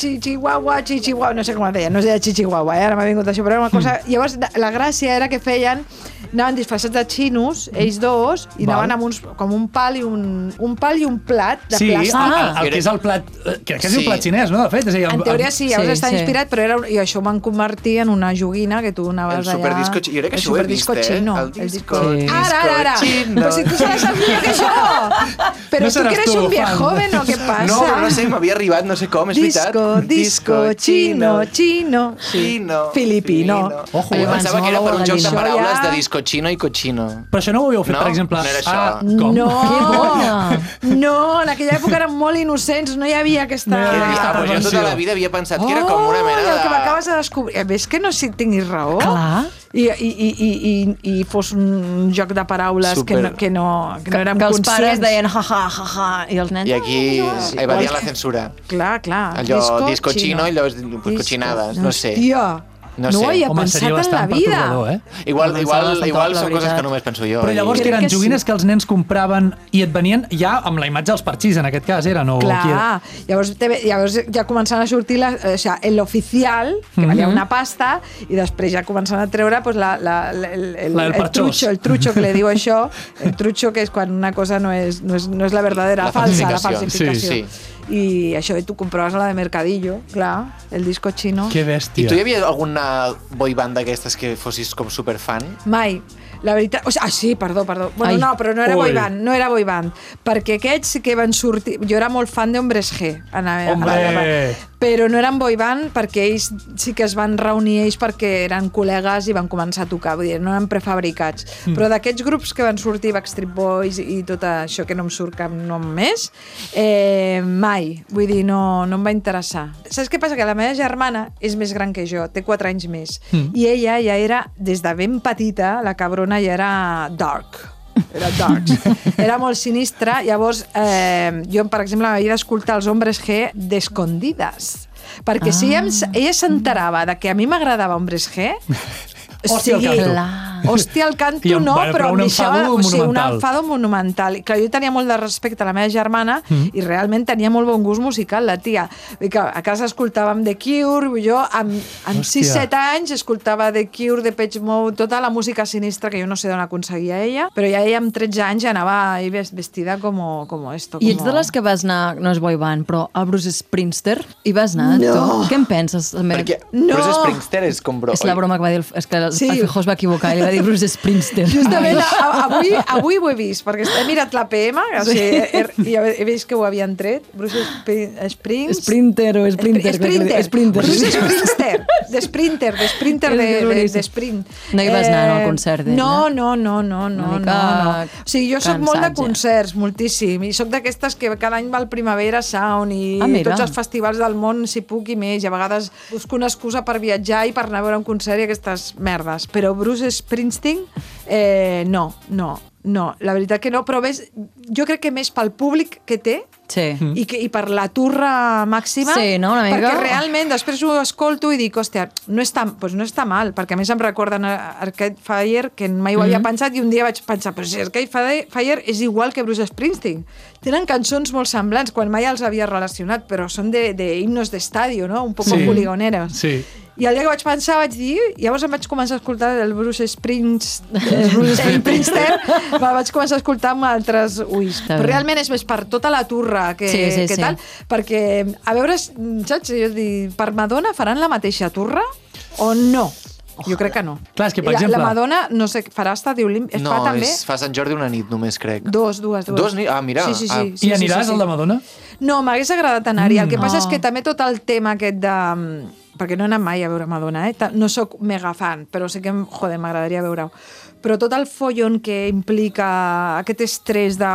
[SPEAKER 3] chi- chihuahua, chi, chihuahua, no sé com es deia, no es deia chi, chihuahua, eh? ara m'ha vingut això, però era una cosa...
[SPEAKER 4] Mm.
[SPEAKER 3] Llavors, la- la gràcia era que feien anaven disfressats de xinos, ells dos, i
[SPEAKER 4] Mm. Val.
[SPEAKER 3] anaven amb uns, com un pal i un, un pal i un plat de
[SPEAKER 4] Sí,
[SPEAKER 3] plàstic.
[SPEAKER 4] el,
[SPEAKER 1] Ah.
[SPEAKER 4] el, que és el plat... eh, Crec que es diu
[SPEAKER 2] Sí.
[SPEAKER 4] plat xinès, no? De fet, és a dir...
[SPEAKER 3] En
[SPEAKER 4] amb-
[SPEAKER 3] teoria
[SPEAKER 4] amb-
[SPEAKER 3] sí, llavors
[SPEAKER 1] Sí,
[SPEAKER 3] sí, estava
[SPEAKER 1] sí.
[SPEAKER 3] sí. inspirat, però era un, i això ho van convertir en una joguina que tu anaves
[SPEAKER 2] El
[SPEAKER 3] allà...
[SPEAKER 2] superdisco chi- jo crec que
[SPEAKER 3] El
[SPEAKER 2] això ho he
[SPEAKER 3] superdisco
[SPEAKER 2] vist, eh?
[SPEAKER 3] chino,
[SPEAKER 2] El disco
[SPEAKER 1] Sí.
[SPEAKER 3] Ara, ara, ara.
[SPEAKER 2] chino.
[SPEAKER 3] Però si tu sabes el millor que jo. Però
[SPEAKER 4] No
[SPEAKER 3] tu
[SPEAKER 4] seràs
[SPEAKER 3] que eres
[SPEAKER 4] tu,
[SPEAKER 3] un viejo
[SPEAKER 4] fan.
[SPEAKER 3] joven o què passa?
[SPEAKER 2] No, però no sé, m'havia arribat, no sé com, és veritat.
[SPEAKER 3] Disco, disco, chino, chino,
[SPEAKER 2] Chino,
[SPEAKER 3] filipino.
[SPEAKER 4] Ojo,
[SPEAKER 2] jo
[SPEAKER 4] eh?
[SPEAKER 2] pensava que era per un joc de
[SPEAKER 1] Això
[SPEAKER 2] paraules
[SPEAKER 3] ja-
[SPEAKER 2] de disco chino i cochino.
[SPEAKER 4] Però això no ho havíeu fet,
[SPEAKER 2] No?
[SPEAKER 4] per exemple...
[SPEAKER 2] No era això.
[SPEAKER 4] com?
[SPEAKER 3] No,
[SPEAKER 1] Que bona!
[SPEAKER 3] no, en aquella època eren molt innocents, no hi havia aquesta...
[SPEAKER 4] No hi havia
[SPEAKER 2] Ah,
[SPEAKER 4] aquesta
[SPEAKER 2] però jo
[SPEAKER 4] prevenció.
[SPEAKER 2] tota la vida havia pensat que era com una mena
[SPEAKER 3] Oh,
[SPEAKER 2] de...
[SPEAKER 3] el que m'acabes de descobrir. Eh, Ves que no si tinguis raó.
[SPEAKER 1] Clar.
[SPEAKER 3] I, i, i, i, i, i fos un joc de paraules que
[SPEAKER 2] Super.
[SPEAKER 3] no, que no, que no érem
[SPEAKER 1] que els
[SPEAKER 3] conscients.
[SPEAKER 1] pares deien ha, ha, ha, ha, i els nens...
[SPEAKER 2] I aquí
[SPEAKER 3] Sí,
[SPEAKER 2] evadien
[SPEAKER 3] igual
[SPEAKER 2] la
[SPEAKER 3] que-
[SPEAKER 2] censura.
[SPEAKER 3] Clar, clar.
[SPEAKER 2] Allò, disco chino, i llavors, pues,
[SPEAKER 3] Disco.
[SPEAKER 2] cochinades, no sé.
[SPEAKER 3] Hòstia,
[SPEAKER 2] No
[SPEAKER 3] no,
[SPEAKER 2] sé.
[SPEAKER 3] ho havia
[SPEAKER 4] Home,
[SPEAKER 3] pensat
[SPEAKER 4] seria
[SPEAKER 3] en la
[SPEAKER 4] bastant
[SPEAKER 3] vida.
[SPEAKER 4] perturbador, eh?
[SPEAKER 2] Igual,
[SPEAKER 1] Em pensava
[SPEAKER 2] igual,
[SPEAKER 1] bastant
[SPEAKER 2] igual
[SPEAKER 1] la
[SPEAKER 2] són coses
[SPEAKER 1] veritat.
[SPEAKER 2] que només penso jo.
[SPEAKER 4] Però llavors
[SPEAKER 2] i-
[SPEAKER 4] que eren
[SPEAKER 3] que sí.
[SPEAKER 4] joguines que els nens compraven i et venien ja amb la imatge dels parxís, en aquest cas, eren, o qui era.
[SPEAKER 3] Clar, llavors, te, llavors ja començaven a sortir la, o sea, el oficial, que valia una pasta, i després ja començaven a treure pues, la, la, la, el, el,
[SPEAKER 4] La del
[SPEAKER 3] el,
[SPEAKER 4] parxós.
[SPEAKER 3] trucho, el trucho que li diu això, el trucho que és quan una cosa no és, no és, no és la verdadera,
[SPEAKER 2] La
[SPEAKER 3] falsa, la
[SPEAKER 2] falsificació.
[SPEAKER 3] falsificació.
[SPEAKER 2] Sí,
[SPEAKER 3] I això tu compraves la de Mercadillo, clar, el disco chino.
[SPEAKER 2] I
[SPEAKER 4] Que
[SPEAKER 2] tu hi
[SPEAKER 4] bèstia.
[SPEAKER 2] havia alguna boy band d'aquestes que fossis com superfan?
[SPEAKER 3] Mai. La veritat... O sigui, ah, sí, perdó, perdó. Bueno,
[SPEAKER 1] Ai.
[SPEAKER 3] no, però no era
[SPEAKER 4] Ui.
[SPEAKER 3] boy band, no era boy band. Perquè aquests sí que van sortir... Jo era molt fan d'Hombres G. En la, en la,
[SPEAKER 4] Hombre!
[SPEAKER 3] eh, però no eren boy band perquè ells sí que es van reunir ells perquè eren col·legues i van començar a tocar, vull dir, no eren prefabricats. Mm. Però d'aquests grups que van sortir, Backstreet Boys i tot això que no em surt cap nom més, eh, mai. Vull dir, no, no em va interessar. Saps què passa? Que la meva germana és més gran que jo, té 4 anys més. Mm. I ella ja era, des de ben petita, la cabrona ja era dark era dark. Era molt sinistre. Llavors, eh, jo, per exemple, m'havia d'escoltar els Hombres G d'escondides. Perquè ah. si ella, em- ella s'enterava de que a mi m'agradava Hombres G... o
[SPEAKER 4] Hòstia, al
[SPEAKER 3] sigui,
[SPEAKER 4] canto.
[SPEAKER 1] Clar.
[SPEAKER 3] Hòstia, el canto
[SPEAKER 4] I em-
[SPEAKER 3] no,
[SPEAKER 4] bueno, però
[SPEAKER 3] però,
[SPEAKER 4] un
[SPEAKER 3] em deixava...
[SPEAKER 4] enfado
[SPEAKER 3] o sigui, un
[SPEAKER 4] monumental.
[SPEAKER 3] enfado monumental. I clar, jo tenia molt de respecte a la meva germana mm. i realment tenia molt bon gust musical, la tia. I que a casa escoltàvem The Cure, jo amb, amb
[SPEAKER 4] Hòstia.
[SPEAKER 3] 6-7 anys escoltava The Cure, The Page Mode, tota la música sinistra que jo no sé d'on aconseguia ella, però ja ella amb 13 anys ja anava ahí ves- vestida com, com
[SPEAKER 1] I
[SPEAKER 3] esto. como-
[SPEAKER 1] ets de les que vas anar, no és boy band, però a Bruce Sprinster hi vas anar, no. tu? Què en penses? També?
[SPEAKER 2] Perquè
[SPEAKER 3] No.
[SPEAKER 2] Bruce Springsteen és com bro...
[SPEAKER 1] És la broma que va dir... El, és que el, sí.
[SPEAKER 3] Sí.
[SPEAKER 1] el Fijós va equivocar i li va dir Bruce Springsteen.
[SPEAKER 3] Justament a, avui, avui ho he vist, perquè he mirat la PM, o sigui, he, he, he vist que ho havien tret, Bruce Spri- Springs...
[SPEAKER 1] Sprinter o Sprinter. crec que li
[SPEAKER 3] Sprinter.
[SPEAKER 1] diu. Sprinter.
[SPEAKER 3] Bruce Sprinter. De Sprinter, de Sprinter
[SPEAKER 1] És que
[SPEAKER 3] de,
[SPEAKER 1] és
[SPEAKER 3] de,
[SPEAKER 1] boníssim.
[SPEAKER 3] de sprint. Eh,
[SPEAKER 1] No hi vas anar, no, al concert d'ell,
[SPEAKER 3] No, no, no, no, no, no,
[SPEAKER 1] mica
[SPEAKER 3] no. O sigui, jo sóc molt de
[SPEAKER 1] cansat, ja.
[SPEAKER 3] concerts, moltíssim, i sóc d'aquestes que cada any va al Primavera Sound i
[SPEAKER 1] Ah, mira.
[SPEAKER 3] tots els festivals del món, si puc i més, i a vegades busco una excusa per viatjar i per anar a veure un concert i aquestes merdes. Però Bruce Springsteen, eh, no, no, no, la veritat que no, però ves, jo crec que més pel públic que té,
[SPEAKER 1] Sí.
[SPEAKER 3] i, que, i per la turra màxima
[SPEAKER 1] Sí, no? Una mica.
[SPEAKER 3] perquè realment després ho escolto i dic, hòstia, no està, doncs no està mal perquè a més em recorden a Arcade Fire que mai ho havia
[SPEAKER 1] Mm-hmm.
[SPEAKER 3] pensat i un dia vaig pensar però si Arcade Fi- Fire és igual que Bruce Springsteen tenen cançons molt semblants quan mai els havia relacionat però són de, de himnos d'estadio no? un poc
[SPEAKER 4] Sí.
[SPEAKER 3] sí. poligoneres
[SPEAKER 4] Sí.
[SPEAKER 3] i el dia que vaig pensar vaig dir, llavors em vaig començar a escoltar el Bruce Springs, el Bruce Springsteen, me vaig començar a escoltar amb altres ulls.
[SPEAKER 1] Està
[SPEAKER 3] Però
[SPEAKER 1] bé.
[SPEAKER 3] realment és més per tota la turra que,
[SPEAKER 1] Sí, sí,
[SPEAKER 3] que
[SPEAKER 1] sí.
[SPEAKER 3] tal, perquè a veure, saps, jo dic, per Madonna faran la mateixa turra o no? Jo crec que no.
[SPEAKER 4] Clar, és que, per
[SPEAKER 3] la,
[SPEAKER 4] exemple-
[SPEAKER 3] La Madonna, no sé, farà Estadi Olímpic?
[SPEAKER 2] No,
[SPEAKER 3] fa també?
[SPEAKER 2] és, fa Sant Jordi una nit només, crec.
[SPEAKER 3] Dos, dues, dues.
[SPEAKER 2] Dos ni- ah, mira,
[SPEAKER 3] Sí, sí,
[SPEAKER 2] ah.
[SPEAKER 3] sí.
[SPEAKER 4] I aniràs al de Madonna?
[SPEAKER 3] No, m'hagués agradat anar-hi. El que passa és
[SPEAKER 1] no.
[SPEAKER 3] que també tot el tema aquest de... mm, Perquè no he anat mai a veure Madonna, eh? Ta- No sóc mega fan, però sí que, joder, m'agradaria veure-ho. Però tot el follon que implica aquest estrès de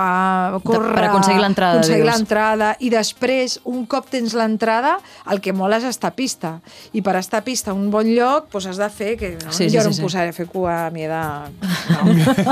[SPEAKER 3] córrer...
[SPEAKER 1] per aconseguir l'entrada,
[SPEAKER 3] Aconseguir
[SPEAKER 1] dius.
[SPEAKER 3] l'entrada. I després, un cop tens l'entrada, el que mola és estar a pista. I per estar a pista a un bon lloc, doncs has de fer que... No?
[SPEAKER 1] Sí, sí,
[SPEAKER 3] jo
[SPEAKER 1] sí,
[SPEAKER 3] no
[SPEAKER 1] sí.
[SPEAKER 3] em posaré a fer cua a mi edat. No,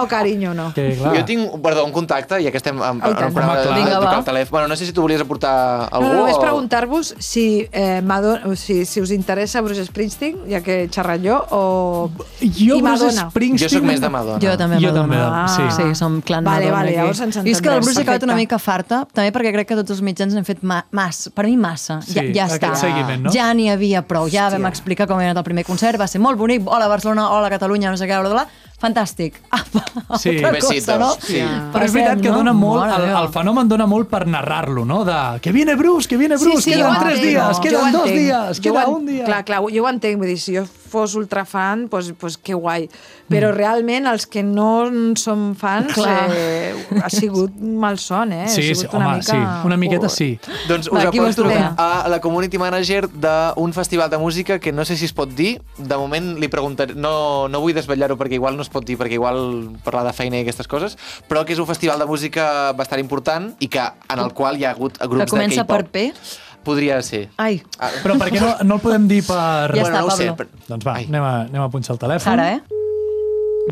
[SPEAKER 3] no carinyo, no.
[SPEAKER 4] Que, clar.
[SPEAKER 2] Jo tinc, perdó, un contacte, ja que estem en,
[SPEAKER 3] Ai,
[SPEAKER 2] en
[SPEAKER 3] tant.
[SPEAKER 2] un programa
[SPEAKER 4] Home,
[SPEAKER 2] de,
[SPEAKER 4] clar.
[SPEAKER 2] de
[SPEAKER 1] Vinga, va.
[SPEAKER 2] tocar el telèfon. Bueno, no sé si tu volies aportar
[SPEAKER 3] No,
[SPEAKER 2] algú
[SPEAKER 3] no, només
[SPEAKER 2] o...
[SPEAKER 3] preguntar-vos si, eh, Madonna, o si, si us interessa Bruce Springsteen, ja que he xerrat jo, o...
[SPEAKER 4] Jo,
[SPEAKER 3] i
[SPEAKER 4] Bruce
[SPEAKER 3] Madonna. Ah.
[SPEAKER 4] Springsteen...
[SPEAKER 2] Jo sóc més de Madonna.
[SPEAKER 1] Jo també,
[SPEAKER 4] Jo
[SPEAKER 1] Madonna.
[SPEAKER 4] també,
[SPEAKER 1] sí.
[SPEAKER 4] sí.
[SPEAKER 1] Sí, som clan
[SPEAKER 3] Vale,
[SPEAKER 1] Madonna.
[SPEAKER 3] vale,
[SPEAKER 1] aquí.
[SPEAKER 3] llavors ens
[SPEAKER 1] I és que el
[SPEAKER 3] entendrem,
[SPEAKER 1] Bruce ha acabat una
[SPEAKER 3] perfecte.
[SPEAKER 1] mica farta, també perquè crec que tots els mitjans han fet ma massa, per mi massa. Ja,
[SPEAKER 4] Sí,
[SPEAKER 1] ja
[SPEAKER 4] aquest
[SPEAKER 1] està.
[SPEAKER 4] seguiment, no?
[SPEAKER 1] Ja n'hi havia prou. Ja vam explicar com era el primer concert, va ser molt bonic. Hola Barcelona, hola Catalunya, no sé què, bla, bla, bla. Fantàstic. Apa,
[SPEAKER 4] Sí.
[SPEAKER 1] altra cosa,
[SPEAKER 2] Besitos,
[SPEAKER 1] no?
[SPEAKER 2] sí.
[SPEAKER 4] Però és veritat
[SPEAKER 1] Passem,
[SPEAKER 4] que
[SPEAKER 1] no?
[SPEAKER 4] dona molt,
[SPEAKER 1] Mare
[SPEAKER 4] el,
[SPEAKER 1] meva.
[SPEAKER 4] el fenomen dona molt per narrar-lo, no? De, que viene Bruce, que viene
[SPEAKER 3] Sí,
[SPEAKER 4] Bruce,
[SPEAKER 3] sí,
[SPEAKER 4] queden
[SPEAKER 3] jo ho
[SPEAKER 4] tres
[SPEAKER 3] entenc,
[SPEAKER 4] dies,
[SPEAKER 3] jo ho
[SPEAKER 4] queden dos
[SPEAKER 3] entenc.
[SPEAKER 4] dies,
[SPEAKER 3] Jo
[SPEAKER 4] queda
[SPEAKER 3] ho en-
[SPEAKER 4] un dia.
[SPEAKER 3] Clar, clar, jo ho entenc, vull dir, si jo fos ultrafan, doncs, doncs que guai.
[SPEAKER 4] Mm.
[SPEAKER 3] Però realment els que no en som fans
[SPEAKER 1] Clar.
[SPEAKER 3] eh, ha sigut malson, eh?
[SPEAKER 4] sí,
[SPEAKER 3] ha
[SPEAKER 4] sí,
[SPEAKER 3] sigut
[SPEAKER 4] home,
[SPEAKER 3] una mica...
[SPEAKER 4] sí, una miqueta sí.
[SPEAKER 2] Doncs us
[SPEAKER 1] Va, qui vols
[SPEAKER 2] aposto
[SPEAKER 1] trucar?
[SPEAKER 2] a la community manager d'un festival de música que no sé si es pot dir. De moment li preguntaré... No, no vull desvetllar-ho perquè igual no es pot dir, perquè igual parlar de feina i aquestes coses, però que és un festival de música bastant important i que en el qual hi ha hagut grups
[SPEAKER 1] Que comença
[SPEAKER 2] de K-pop.
[SPEAKER 1] per P.
[SPEAKER 2] Podria ser.
[SPEAKER 1] Ai,
[SPEAKER 2] Ah,
[SPEAKER 4] Però per què no, no el podem dir per...
[SPEAKER 1] Ja
[SPEAKER 2] bueno,
[SPEAKER 1] està,
[SPEAKER 2] no ho sé,
[SPEAKER 1] Pablo.
[SPEAKER 2] però-
[SPEAKER 4] Doncs va,
[SPEAKER 2] Ai.
[SPEAKER 4] anem a, anem a punxar el telèfon.
[SPEAKER 1] ara, eh?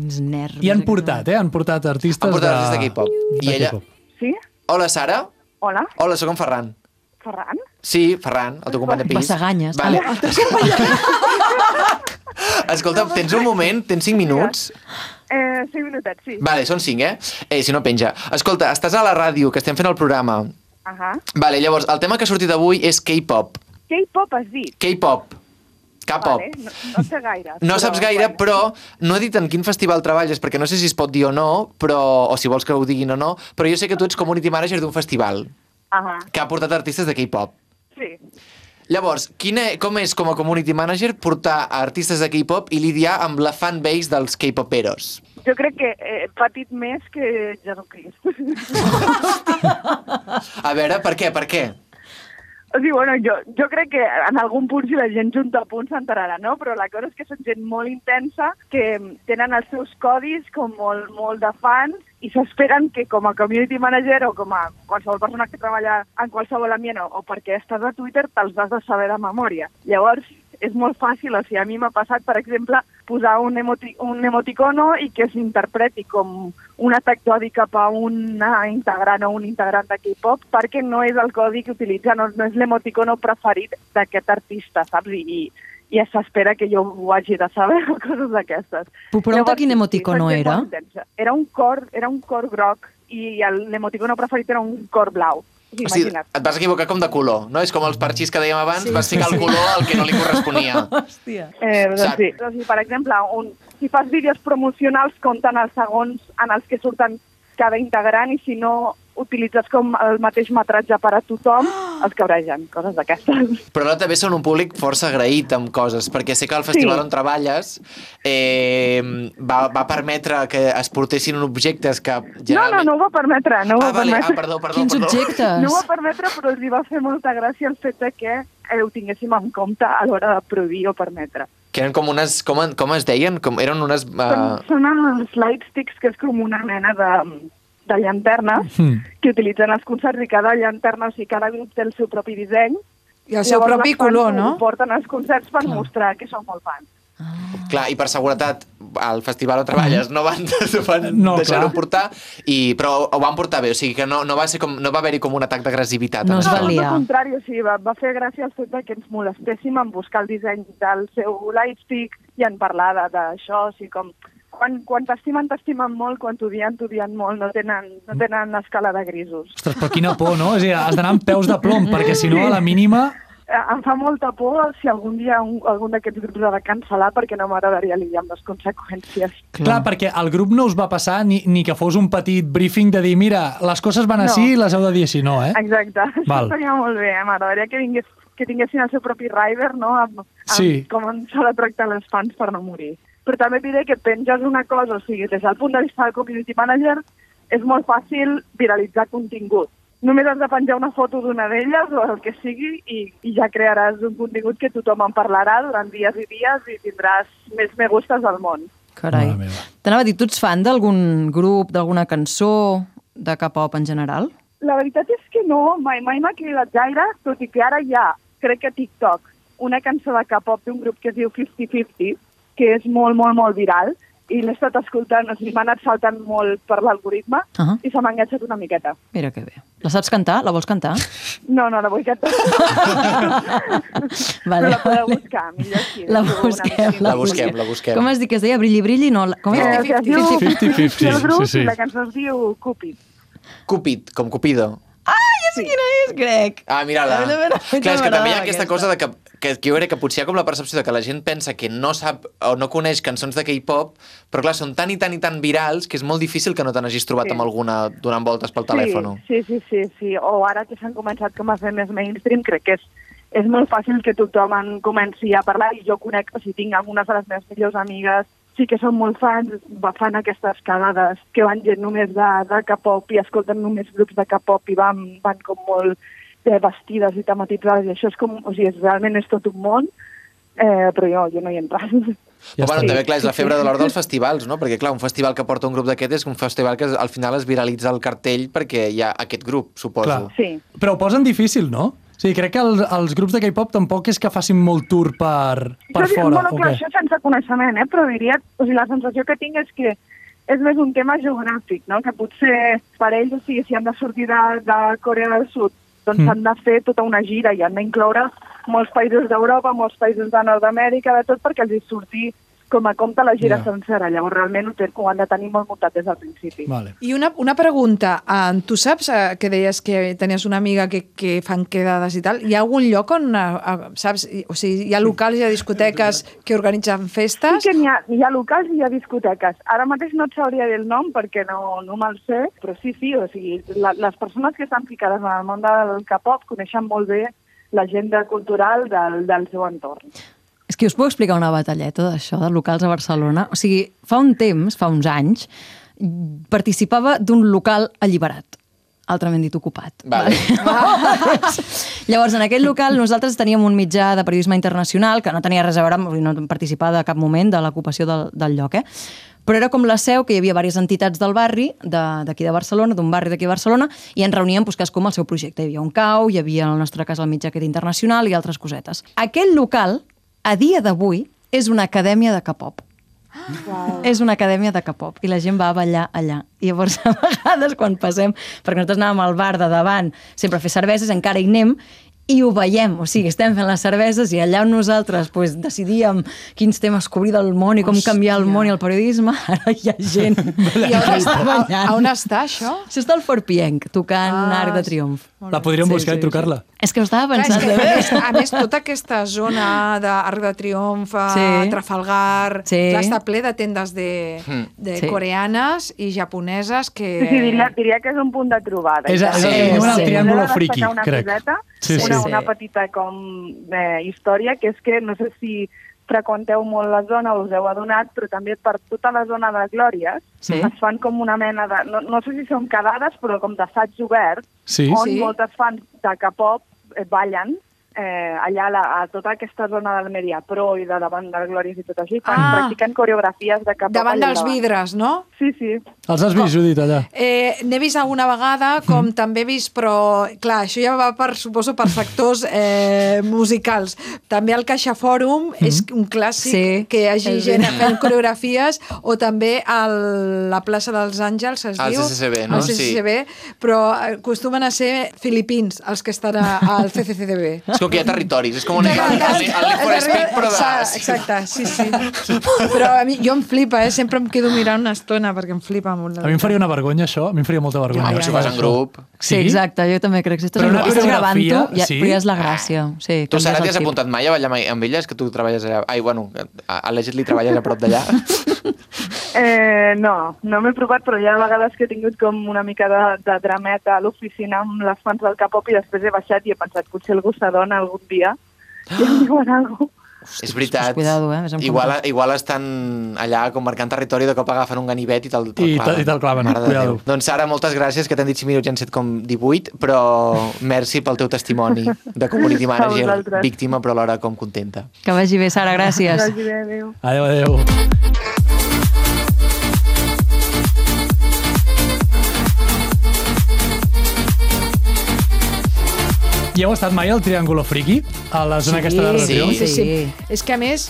[SPEAKER 1] Uns nervis.
[SPEAKER 4] I han
[SPEAKER 1] aquests.
[SPEAKER 4] portat, eh? Han portat artistes
[SPEAKER 2] Han portat
[SPEAKER 4] de...
[SPEAKER 2] artistes de K-pop. I
[SPEAKER 4] de
[SPEAKER 2] ella-
[SPEAKER 4] K-pop.
[SPEAKER 5] Sí?
[SPEAKER 2] Hola, Sara.
[SPEAKER 5] Hola,
[SPEAKER 2] Hola, sóc en Ferran.
[SPEAKER 5] Ferran?
[SPEAKER 2] Sí, Ferran, el teu company de pis.
[SPEAKER 1] Oh, Passaganyes.
[SPEAKER 2] Vale. Escolta, tens un moment? Tens 5 minuts?
[SPEAKER 5] Eh, 5 minutets, sí.
[SPEAKER 2] Vale, són 5, eh? Eh, si no penja. Escolta, estàs a la ràdio, que estem fent el programa.
[SPEAKER 5] Ahà.
[SPEAKER 2] Vale, llavors, el tema que ha sortit avui és K-pop.
[SPEAKER 5] K-pop has dit?
[SPEAKER 2] K-pop. K-pop.
[SPEAKER 5] Vale, no, no sé gaire.
[SPEAKER 2] No saps gaire, però no he dit en quin festival treballes, perquè no sé si es pot dir o no, però, o si vols que ho diguin o no, però jo sé que tu ets community manager d'un festival
[SPEAKER 5] Ahà,
[SPEAKER 2] que ha portat artistes de K-pop.
[SPEAKER 5] sí.
[SPEAKER 2] Llavors, quina, com és com a community manager portar a artistes de K-pop i lidiar amb la fanbase dels K-poperos?
[SPEAKER 5] Jo crec que eh, he patit més que Jesucrist.
[SPEAKER 2] A veure, per què, per què?
[SPEAKER 5] o sigui, bueno, jo, jo crec que en algun punt, si la gent junta punts, s'entrarà, no? Però la cosa és que són gent molt intensa, que tenen els seus codis com molt, molt de fans i s'esperen que com a community manager o com a qualsevol persona que treballa en qualsevol ambient o, o perquè estàs a Twitter te'ls has de saber de memòria. Llavors, és molt fàcil, o sigui, a mi m'ha passat, per exemple, posar un, emoti un emoticono i que s'interpreti com un atac d'odi cap a una integrant o un integrant de K-pop perquè no és el codi que utilitza, no, no és l'emoticono preferit d'aquest artista, saps? I, i, i s'espera que jo ho hagi de saber, o coses d'aquestes.
[SPEAKER 1] Puc preguntar
[SPEAKER 5] Llavors,
[SPEAKER 1] quin
[SPEAKER 5] sí,
[SPEAKER 1] emoticono
[SPEAKER 5] sí, va ser
[SPEAKER 1] era?
[SPEAKER 5] molt intensa. Era un cor, era un cor groc i el- l'emoticono preferit era un cor blau.
[SPEAKER 2] O sigui,
[SPEAKER 5] Imagina't.
[SPEAKER 2] et vas equivocar com de color, no? És com els parxís que dèiem abans, sí, vas ficar el color al que no li corresponia.
[SPEAKER 1] Hòstia.
[SPEAKER 5] Eh, doncs,
[SPEAKER 2] Exacte.
[SPEAKER 5] sí. doncs, sí, per exemple, un, si fas vídeos promocionals, compten els segons en els que surten cada integrant i si no, utilitzes com el mateix metratge per a tothom els cabregen, coses d'aquestes.
[SPEAKER 2] Però ara també són un públic força agraït amb coses, perquè sé que el festival
[SPEAKER 5] Sí.
[SPEAKER 2] on treballes eh, va, va permetre que es portessin objectes que
[SPEAKER 5] No, no,
[SPEAKER 2] generalment...
[SPEAKER 5] no ho va permetre, no ho
[SPEAKER 2] ah,
[SPEAKER 5] va
[SPEAKER 2] vale, ah,
[SPEAKER 5] permetre.
[SPEAKER 2] perdó, perdó,
[SPEAKER 1] Quins
[SPEAKER 2] perdó.
[SPEAKER 1] objectes?
[SPEAKER 5] No ho va permetre, però els hi va fer molta gràcia el fet de que eh, ho tinguéssim en compte a l'hora de prohibir o permetre.
[SPEAKER 2] Que eren com unes... Com, en- com es deien? Com, eren unes...
[SPEAKER 5] Són,
[SPEAKER 2] Uh,
[SPEAKER 5] són els lightsticks, que és com una mena de, de llanterna
[SPEAKER 4] Mm.
[SPEAKER 5] que utilitzen els concerts i cada llanterna, o sigui, cada grup té el seu propi disseny.
[SPEAKER 3] I el seu
[SPEAKER 5] Llavors,
[SPEAKER 3] propi
[SPEAKER 5] els fans
[SPEAKER 3] color,
[SPEAKER 5] ho
[SPEAKER 3] no?
[SPEAKER 5] porten als concerts per mostrar que són molt fans.
[SPEAKER 2] clar, i per seguretat, al festival on
[SPEAKER 1] Mhm.
[SPEAKER 2] treballes no van, no van
[SPEAKER 4] No,
[SPEAKER 2] deixar-ho
[SPEAKER 4] clar.
[SPEAKER 2] portar, i, però ho van portar bé, o sigui que no, no va ser com, no va haver-hi com un atac d'agressivitat.
[SPEAKER 1] No
[SPEAKER 2] en
[SPEAKER 1] es
[SPEAKER 2] això.
[SPEAKER 1] va liar.
[SPEAKER 5] Al contrari, o sigui, va, va fer gràcia el fet de que ens molestéssim en buscar el disseny del seu lightstick i en parlar de- d'això, o sigui, com quan, quan t'estimen, t'estimen molt, quan t'odien, t'odien molt, no tenen, no tenen escala de grisos.
[SPEAKER 4] Ostres, però quina por, no? És a dir, has d'anar amb peus de plom, perquè si no, a la mínima...
[SPEAKER 5] Eh, Em fa molta por si algun dia un, algun d'aquests grups ha de cancel·lar perquè no m'agradaria lidiar amb les conseqüències.
[SPEAKER 4] Clar, perquè al grup no us va passar ni, ni que fos un petit briefing de dir mira, les coses van
[SPEAKER 5] No.
[SPEAKER 4] així i les heu de dir així, no, eh?
[SPEAKER 5] Exacte,
[SPEAKER 4] Val.
[SPEAKER 5] Val. estaria molt bé. eh? M'agradaria que, vingués, que tinguessin el seu propi rider, no?, amb, amb
[SPEAKER 4] Sí.
[SPEAKER 5] com s'ha de tractar les fans per no morir. Però també et diré que et penges una cosa, o sigui, des del punt de vista del community manager, és molt fàcil viralitzar contingut. Només has de penjar una foto d'una d'elles o el que sigui i, i ja crearàs un contingut que tothom en parlarà durant dies i dies i tindràs més me gustes del món.
[SPEAKER 1] Carai.
[SPEAKER 4] Mare meva.
[SPEAKER 1] T'anava a dir, tu ets fan d'algun grup, d'alguna cançó, de K-pop en general?
[SPEAKER 5] La veritat és que no, mai mai m'ha cridat gaire, tot i que ara hi ha, crec que a TikTok, una cançó de K-pop d'un grup que es diu 50-50, que és molt, molt, molt viral, i l'he estat escoltant, o sigui, m'ha anat saltant molt per l'algoritme, uh
[SPEAKER 1] Ahà.
[SPEAKER 5] -huh. i se m'ha enganxat una miqueta.
[SPEAKER 1] Mira que bé. La saps cantar? La vols cantar?
[SPEAKER 5] No, no, la vull que...
[SPEAKER 1] Vale,
[SPEAKER 5] no la podeu
[SPEAKER 1] vale.
[SPEAKER 5] buscar, millor així.
[SPEAKER 1] La
[SPEAKER 5] deixo una
[SPEAKER 1] busquem,
[SPEAKER 5] mica.
[SPEAKER 1] la,
[SPEAKER 2] La busquem, la busquem.
[SPEAKER 1] Com es diu que es deia? Brilli, brilli, no? la- Com
[SPEAKER 5] Eh,
[SPEAKER 1] es
[SPEAKER 5] o sigui,
[SPEAKER 1] diu?
[SPEAKER 5] es diu
[SPEAKER 4] 50-50,
[SPEAKER 5] 50-50, el grup,
[SPEAKER 4] sí, sí.
[SPEAKER 5] i la cançó es diu Cupid.
[SPEAKER 2] Cupid, com Cupido.
[SPEAKER 1] Ja sé quina és, crec.
[SPEAKER 2] Ah, mira-la.
[SPEAKER 1] A mi també- a mi
[SPEAKER 2] Clar, és que
[SPEAKER 1] m'agrada
[SPEAKER 2] també hi ha aquesta cosa de que, que, que jo crec que potser hi ha com la percepció de que la gent pensa que no sap o no coneix cançons de K-pop, però clar, són tan i tan i tan virals que és molt difícil que no te n'hagis trobat
[SPEAKER 5] Sí.
[SPEAKER 2] amb alguna donant voltes pel telèfon.
[SPEAKER 5] Sí, sí, sí, sí. O ara que s'han començat com a fer més mainstream, crec que és, és molt fàcil que tothom en comenci a parlar i jo conec, o sigui, tinc algunes de les meves millors amigues, sí que són molt fans, va- fan aquestes cagades que van gent només de, de K-pop i escolten només grups de K-pop i van, van com molt eh, vestides i tematitzades i això és com, o sigui, és, realment és tot un món, eh, però jo, jo no hi he entrat.
[SPEAKER 2] Ja
[SPEAKER 4] Ja
[SPEAKER 2] però bueno,
[SPEAKER 4] està.
[SPEAKER 2] també, clar, és la febre de l'hora dels festivals, no? Perquè, clar, un festival que porta un grup d'aquest és un festival que al final es viralitza el cartell perquè hi ha aquest grup, suposo.
[SPEAKER 4] Clar.
[SPEAKER 5] Sí.
[SPEAKER 4] Però ho posen difícil, no? O sigui, crec que els, els grups de K-pop tampoc és que facin molt tour per, per
[SPEAKER 5] Jo dic,
[SPEAKER 4] fora.
[SPEAKER 5] Bueno,
[SPEAKER 4] o
[SPEAKER 5] clar,
[SPEAKER 4] què?
[SPEAKER 5] això sense coneixement, eh? però diria, o sigui, la sensació que tinc és que és més un tema geogràfic, no? que potser per ells, o sigui, si han de sortir de, de Corea del Sud, doncs
[SPEAKER 4] Mm.
[SPEAKER 5] mm. han de fer tota una gira i han d'incloure molts països d'Europa, molts països de Nord-Amèrica, de tot, perquè els hi surti com a compte la gira
[SPEAKER 4] Ja.
[SPEAKER 5] yeah. sencera. Llavors, realment, ho, ten, ho han de tenir molt muntat des del principi.
[SPEAKER 4] Vale.
[SPEAKER 3] I una, una pregunta, eh, tu saps eh, que deies que tenies una amiga que, que fan quedades i tal, hi ha algun lloc on, eh, eh, saps, i- o sigui, hi ha locals, hi ha discoteques que organitzen festes?
[SPEAKER 5] Sí que n'hi ha, hi ha locals i hi ha discoteques. Ara mateix no et sabria dir el nom perquè no, no me'l sé, però sí, sí, o sigui, la, les persones que estan ficades en el món del K-pop coneixen molt bé l'agenda cultural del, del seu entorn.
[SPEAKER 1] És que us puc explicar una batalleta d'això, de locals a Barcelona. O sigui, fa un temps, fa uns anys, participava d'un local alliberat altrament dit ocupat.
[SPEAKER 2] Vale.
[SPEAKER 1] Vale. Llavors, en aquell local nosaltres teníem un mitjà de periodisme internacional que no tenia res a veure, amb- no participava de cap moment de l'ocupació del, del lloc, eh? però era com la seu, que hi havia diverses entitats del barri, de- d'aquí de, Barcelona, d'un barri d'aquí de Barcelona, i ens reuníem doncs, cas com el seu projecte. Hi havia un cau, hi havia, en el nostre cas, el mitjà aquest internacional i altres cosetes. Aquell local, a dia d'avui, és una acadèmia de K-pop. És una acadèmia de K-pop i la gent va a ballar allà. I llavors, a vegades, quan passem, perquè nosaltres anàvem al bar de davant sempre a fer cerveses, encara hi anem, i ho veiem, o sigui, estem fent les cerveses i allà on nosaltres pues, decidíem quins temes cobrir del món i com canviar el món i el periodisme, ara hi ha gent
[SPEAKER 3] I on està, a, a on
[SPEAKER 1] ballant.
[SPEAKER 3] està això?
[SPEAKER 1] S'està al Fort Pienc, tocant
[SPEAKER 3] Ah,
[SPEAKER 1] ah, Arc de
[SPEAKER 3] sí.
[SPEAKER 1] Triomf.
[SPEAKER 4] La podríem
[SPEAKER 1] Sí,
[SPEAKER 4] buscar
[SPEAKER 1] sí,
[SPEAKER 4] i trucar-la.
[SPEAKER 1] És que ho estava
[SPEAKER 3] Clar, és
[SPEAKER 1] pensant. eh?
[SPEAKER 3] que, a, més,
[SPEAKER 1] també.
[SPEAKER 3] a més, tota aquesta zona d'Arc de Triomf, sí.
[SPEAKER 1] Sí.
[SPEAKER 3] Trafalgar, sí.
[SPEAKER 1] Sí.
[SPEAKER 3] clar, està ple de tendes de, de sí.
[SPEAKER 1] Sí.
[SPEAKER 3] coreanes i japoneses que...
[SPEAKER 7] Sí, sí,
[SPEAKER 3] Eh,
[SPEAKER 7] diria, diria que és un punt de trobada.
[SPEAKER 4] És-
[SPEAKER 1] és el que diuen el
[SPEAKER 7] Sí, sí. M'agrada
[SPEAKER 4] triàngul friki,
[SPEAKER 7] destacar una
[SPEAKER 4] crec.
[SPEAKER 7] Coseta,
[SPEAKER 4] Sí,
[SPEAKER 7] sí,
[SPEAKER 4] sí.
[SPEAKER 7] una,
[SPEAKER 1] Sí.
[SPEAKER 7] una petita com eh, història, que és que no sé si freqüenteu molt la zona, us heu adonat, però també per tota la zona de Glòries
[SPEAKER 1] Sí.
[SPEAKER 7] es fan com una mena de... No, no sé si són quedades, però com d'assaig obert,
[SPEAKER 4] Sí.
[SPEAKER 1] Oh,
[SPEAKER 7] on
[SPEAKER 3] Sí.
[SPEAKER 7] moltes fans de K-pop eh, ballen eh, allà a, la, a tota aquesta zona d'Almeria, Pro i de davant del Glòries i tot així, fan,
[SPEAKER 3] Ah.
[SPEAKER 7] practiquen coreografies de K-pop.
[SPEAKER 3] Davant
[SPEAKER 7] allà
[SPEAKER 3] dels vidres, no?
[SPEAKER 7] Sí, sí.
[SPEAKER 4] Els has vist, Judit, allà?
[SPEAKER 3] Eh, N'he vist alguna vegada, com mm. també he vist, però clar, això ja va per, suposo, per sectors eh, musicals. També el Caixa Fòrum mm. és un clàssic sí,
[SPEAKER 1] Sí,
[SPEAKER 3] que hi hagi
[SPEAKER 1] és
[SPEAKER 3] gent
[SPEAKER 1] veritat.
[SPEAKER 3] fent coreografies, o també el, la plaça dels Àngels, es
[SPEAKER 2] Al
[SPEAKER 3] diu?
[SPEAKER 2] CCCB, no?
[SPEAKER 3] Al
[SPEAKER 2] Sí.
[SPEAKER 3] CCCB, sí. però acostumen a ser filipins els que estan a- al CCCB.
[SPEAKER 2] És com que hi ha territoris, és com una mica el, el, el Need for Speed, però de...
[SPEAKER 3] Exacte, Exacte, sí, sí. Però a mi, jo em flipa, eh? Sempre em quedo mirant una estona perquè em flipa molt.
[SPEAKER 4] A mi em faria
[SPEAKER 1] eh.
[SPEAKER 4] una vergonya, això. A mi em faria molta vergonya.
[SPEAKER 2] Ah, però si ho fas en grup.
[SPEAKER 1] Sí, exacte, jo també crec. Si estàs,
[SPEAKER 4] Però una
[SPEAKER 1] estàs gravant tu,
[SPEAKER 4] coreografia,
[SPEAKER 1] ja,
[SPEAKER 4] sí?
[SPEAKER 1] sí? però ja és la gràcia. Sí,
[SPEAKER 2] Tu,
[SPEAKER 1] canvies
[SPEAKER 2] Sara,
[SPEAKER 1] el
[SPEAKER 2] t'hi has
[SPEAKER 1] xip.
[SPEAKER 2] apuntat mai a ballar mai amb ella? És que tu treballes allà... Ai, bueno, a, a l'Eget li treballes a prop d'allà.
[SPEAKER 7] Eh, no, no m'he provat, però hi ha vegades que he tingut com una mica de, de drameta a l'oficina amb les fans del K-pop i després he baixat i he pensat, potser algú s'adona algun dia i em diuen alguna cosa.
[SPEAKER 2] és veritat.
[SPEAKER 1] pues, cuidado, eh, vés amb
[SPEAKER 2] igual,
[SPEAKER 1] compte.
[SPEAKER 2] igual estan allà com marcant territori, de cop agafen un ganivet i te'l
[SPEAKER 4] I te- i te'l claven,
[SPEAKER 2] Mare de
[SPEAKER 4] cuidado.
[SPEAKER 2] Déu. Doncs Sara, moltes gràcies, que t'han dit 5 minuts i han set com 18, però merci pel teu testimoni de community
[SPEAKER 7] A
[SPEAKER 2] manager,
[SPEAKER 7] vosaltres.
[SPEAKER 2] víctima però alhora com contenta.
[SPEAKER 1] Que vagi bé, Sara, gràcies.
[SPEAKER 7] Vagi bé, adéu.
[SPEAKER 4] Adéu, adéu. Hi heu estat mai al Triángulo Friki? A la zona aquesta de
[SPEAKER 2] Sí.
[SPEAKER 4] Retrions?
[SPEAKER 3] sí, sí.
[SPEAKER 1] Sí.
[SPEAKER 3] És que a més,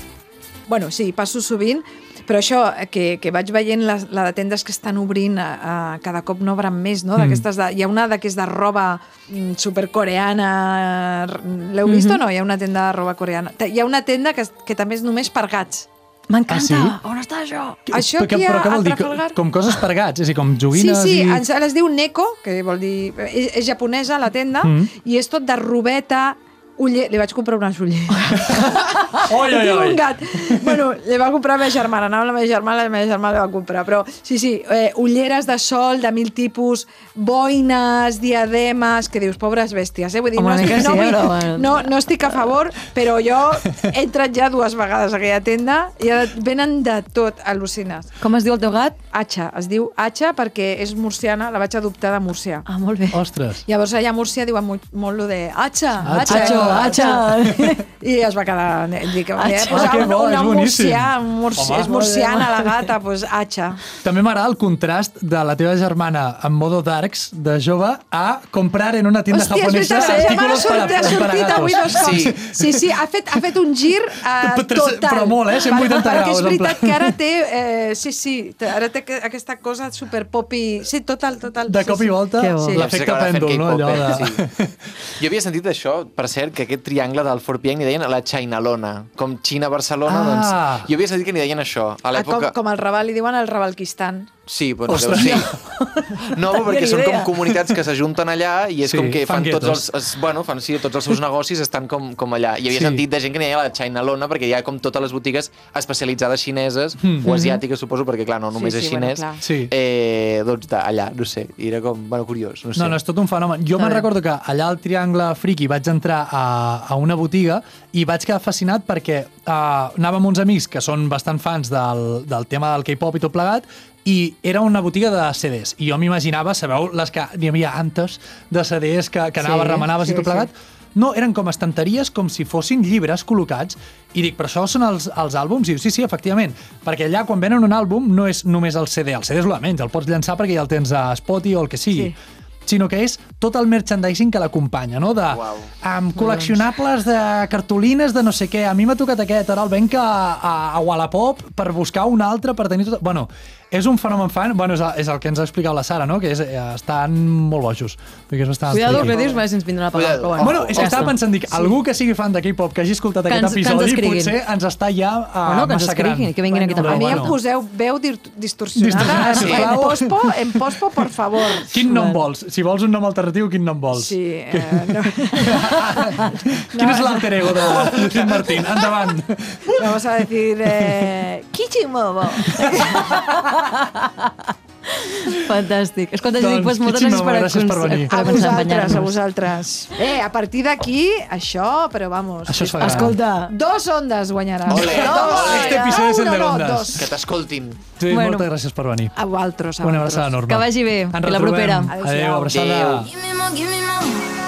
[SPEAKER 3] bueno, sí, passo sovint, però això eh, que, que vaig veient la, la de tendes que estan obrint a, a, cada cop n'obren més, no? D'aquestes de, hi ha una de que és de roba mm, supercoreana, r- l'heu vist o no? Hi ha una tenda de roba coreana. Te- Hi ha una tenda que, es- que també és només per gats.
[SPEAKER 1] M'encanta.
[SPEAKER 4] Ah, sí?
[SPEAKER 1] On està això?
[SPEAKER 3] Això
[SPEAKER 4] Però
[SPEAKER 3] aquí
[SPEAKER 4] què-
[SPEAKER 3] a,
[SPEAKER 4] però què
[SPEAKER 3] a
[SPEAKER 4] vol dir?
[SPEAKER 3] Trafalgar...
[SPEAKER 4] Com coses per gats, és a dir, com
[SPEAKER 3] Sí,
[SPEAKER 4] joguines
[SPEAKER 3] sí,
[SPEAKER 4] i...
[SPEAKER 3] ens, es diu Neko, que vol dir... eh, És, és japonesa, la tenda,
[SPEAKER 4] Mm.
[SPEAKER 3] i és tot de robeta, uller... Li vaig comprar unes ulleres.
[SPEAKER 4] Oi, oi,
[SPEAKER 3] Tinc
[SPEAKER 4] oi.
[SPEAKER 3] un gat. Bueno, li va comprar la meva germana, anava amb la meva germana, la meva germana li va comprar, però sí, sí, eh, ulleres de sol de mil tipus, boines, diademes, que dius, pobres bèsties, eh? Vull dir,
[SPEAKER 1] Home, una
[SPEAKER 3] no, estic,
[SPEAKER 1] mica
[SPEAKER 3] no,
[SPEAKER 1] sí,
[SPEAKER 3] vull-
[SPEAKER 1] però bueno.
[SPEAKER 3] no, no estic a favor, però jo he entrat ja dues vegades a aquella tenda i ara venen de tot, al·lucines.
[SPEAKER 1] Com es diu el teu gat?
[SPEAKER 3] Atxa, es diu Atxa perquè és murciana, la vaig adoptar de Múrcia.
[SPEAKER 1] Ah, molt bé.
[SPEAKER 4] Ostres.
[SPEAKER 3] Llavors allà a Múrcia diuen molt, molt lo de atxa, atxa,
[SPEAKER 1] Atxo, atxa.
[SPEAKER 3] I es va quedar... eh, Dic, atxa,
[SPEAKER 1] Atxa.
[SPEAKER 3] pues,
[SPEAKER 4] Ah, que
[SPEAKER 3] una,
[SPEAKER 4] bo, és
[SPEAKER 3] una
[SPEAKER 4] boníssim.
[SPEAKER 3] murcià, un murci,
[SPEAKER 4] Home.
[SPEAKER 3] és murciana la gata, doncs pues, atxa.
[SPEAKER 4] També m'agrada el contrast de la teva germana en modo darks de jove a comprar en una tienda
[SPEAKER 3] Hòstia, és
[SPEAKER 4] japonesa
[SPEAKER 3] veritat, la germana
[SPEAKER 4] artículos
[SPEAKER 3] sort, ha
[SPEAKER 4] para, para
[SPEAKER 3] sortit avui
[SPEAKER 4] gatos.
[SPEAKER 3] dos cops.
[SPEAKER 2] Sí.
[SPEAKER 3] Sí, sí, ha, fet, ha fet un gir eh,
[SPEAKER 4] Però- però-
[SPEAKER 3] total.
[SPEAKER 4] però molt, eh?
[SPEAKER 3] Per-
[SPEAKER 4] 180
[SPEAKER 3] Perquè
[SPEAKER 4] graus,
[SPEAKER 3] és
[SPEAKER 4] en
[SPEAKER 3] veritat
[SPEAKER 4] plan.
[SPEAKER 3] que ara té... Eh, sí, sí, té- ara té que- aquesta cosa super popi... Sí, total, total.
[SPEAKER 4] De
[SPEAKER 3] sí,
[SPEAKER 4] cop i
[SPEAKER 3] sí.
[SPEAKER 4] volta,
[SPEAKER 1] Que bo.
[SPEAKER 4] sí.
[SPEAKER 1] Sí.
[SPEAKER 4] l'efecte
[SPEAKER 2] S'acabarà fent
[SPEAKER 4] pèndol, no?
[SPEAKER 2] K-pop,
[SPEAKER 4] Allò de...
[SPEAKER 2] eh? Sí. Jo havia sentit això, per cert, que aquest triangle del Fort Pienc li deien la Chainalona. Com Xina-Barcelona,
[SPEAKER 4] Ah.
[SPEAKER 2] doncs... Jo havia sentit que li deien això. A
[SPEAKER 3] Ah, com,
[SPEAKER 2] l'època...
[SPEAKER 3] com el Raval li diuen el Ravalquistan.
[SPEAKER 2] Sí, bueno, deu,
[SPEAKER 4] Ostres.
[SPEAKER 2] sí. No,
[SPEAKER 1] Tenia
[SPEAKER 2] perquè
[SPEAKER 1] ni
[SPEAKER 2] són com
[SPEAKER 1] idea.
[SPEAKER 2] comunitats que s'ajunten allà i és sí,
[SPEAKER 4] Sí,
[SPEAKER 2] com que fan,
[SPEAKER 4] fan
[SPEAKER 2] tots els,
[SPEAKER 4] guetos.
[SPEAKER 2] els, bueno, fan, sí, tots els seus negocis estan com, com allà. I havia
[SPEAKER 4] Sí.
[SPEAKER 2] sí. sentit de gent que n'hi ha a la Chainalona perquè hi ha com totes les botigues especialitzades xineses o asiàtiques, suposo, perquè clar, no només
[SPEAKER 3] sí,
[SPEAKER 2] és
[SPEAKER 3] bueno,
[SPEAKER 2] xinès.
[SPEAKER 3] clar.
[SPEAKER 4] Mhm. Sí.
[SPEAKER 2] eh, doncs de- allà, no sé. I era com, bueno, curiós, no sé.
[SPEAKER 4] No, no, és tot un fenomen. Jo me'n recordo que allà al Triangle Friki vaig entrar a, a una botiga i vaig quedar fascinat perquè uh, anava amb uns amics que són bastant fans del, del tema del K-pop i tot plegat i era una botiga de CDs. I jo m'imaginava, sabeu, les que n'hi havia antes de CDs que, que anaves,
[SPEAKER 3] Sí,
[SPEAKER 4] remenaves
[SPEAKER 3] sí,
[SPEAKER 4] i tot plegat. No, eren com estanteries, com si fossin llibres col·locats, i dic, però això són els, els àlbums? I diu, sí, sí, efectivament, perquè allà quan venen un àlbum no és només el CD, el CD és el menys, el pots llançar perquè ja el tens a Spotify o el que sigui. Sí. sinó que és tot el merchandising que l'acompanya, no? De,
[SPEAKER 2] Uau.
[SPEAKER 4] amb col·leccionables de cartolines de no sé què. A mi m'ha tocat aquest, ara el venc a, a, a Wallapop per buscar un altre, per tenir tot... Bueno, és un fenomen fan, bueno, és, el- és el que ens ha explicat la Sara, no? Que és, eh, estan molt bojos. Perquè és bastant
[SPEAKER 8] Cuidado que
[SPEAKER 4] friki.
[SPEAKER 8] dius, perquè si ens vindran a pagar.
[SPEAKER 2] Cuidado.
[SPEAKER 8] Però bueno.
[SPEAKER 4] Bueno, és que
[SPEAKER 8] Ja
[SPEAKER 4] estava
[SPEAKER 8] està.
[SPEAKER 4] pensant, dic, algú que sigui fan de K-pop, que hagi escoltat
[SPEAKER 1] Que
[SPEAKER 4] aquest
[SPEAKER 1] ens- que ens
[SPEAKER 4] episodi,
[SPEAKER 1] escriguin.
[SPEAKER 4] potser ens està ja uh,
[SPEAKER 1] Bueno, que ens
[SPEAKER 4] massacrant.
[SPEAKER 1] escriguin i que vinguin aquí
[SPEAKER 4] Però
[SPEAKER 1] també.
[SPEAKER 3] A mi em
[SPEAKER 1] bueno.
[SPEAKER 3] poseu veu dir- distorsionada.
[SPEAKER 4] Distorsionada,
[SPEAKER 3] En
[SPEAKER 4] sisplau.
[SPEAKER 3] pospo, en pospo, por favor.
[SPEAKER 4] Quin nom vols? Si vols un nom alternatiu, quin nom vols?
[SPEAKER 3] Sí, eh, no.
[SPEAKER 4] Quin és l'alter ego de Lucien Martín? Endavant.
[SPEAKER 3] Vamos a decir eh, Kichimobo.
[SPEAKER 1] Fantàstic. Escolta,
[SPEAKER 4] Doncs,
[SPEAKER 1] Judit, doncs, moltes gràcies
[SPEAKER 4] Kitxi, no,
[SPEAKER 1] per,
[SPEAKER 4] gràcies per
[SPEAKER 1] acons-
[SPEAKER 4] venir.
[SPEAKER 1] per
[SPEAKER 3] A
[SPEAKER 1] acons-
[SPEAKER 3] vosaltres, a
[SPEAKER 1] acompanyar-nos.
[SPEAKER 3] vosaltres. Eh, a partir d'aquí, això, però vamos.
[SPEAKER 4] Això es fa gran.
[SPEAKER 8] Escolta,
[SPEAKER 3] Dos ondes guanyaràs.
[SPEAKER 2] Ole,
[SPEAKER 3] Dos,
[SPEAKER 2] ole.
[SPEAKER 4] Este episodi és el
[SPEAKER 3] una,
[SPEAKER 4] de
[SPEAKER 3] no,
[SPEAKER 4] ondes.
[SPEAKER 3] dos.
[SPEAKER 2] Que t'escoltin.
[SPEAKER 4] Sí,
[SPEAKER 1] Bueno.
[SPEAKER 4] moltes gràcies per venir.
[SPEAKER 3] A vosaltres. a
[SPEAKER 4] Una
[SPEAKER 3] vosaltres.
[SPEAKER 4] abraçada enorme.
[SPEAKER 1] Que vagi bé. I
[SPEAKER 4] Ens
[SPEAKER 1] la
[SPEAKER 4] retrobem.
[SPEAKER 1] propera.
[SPEAKER 4] Adéu, abraçada.
[SPEAKER 2] Adéu.
[SPEAKER 6] Give me more, give me more.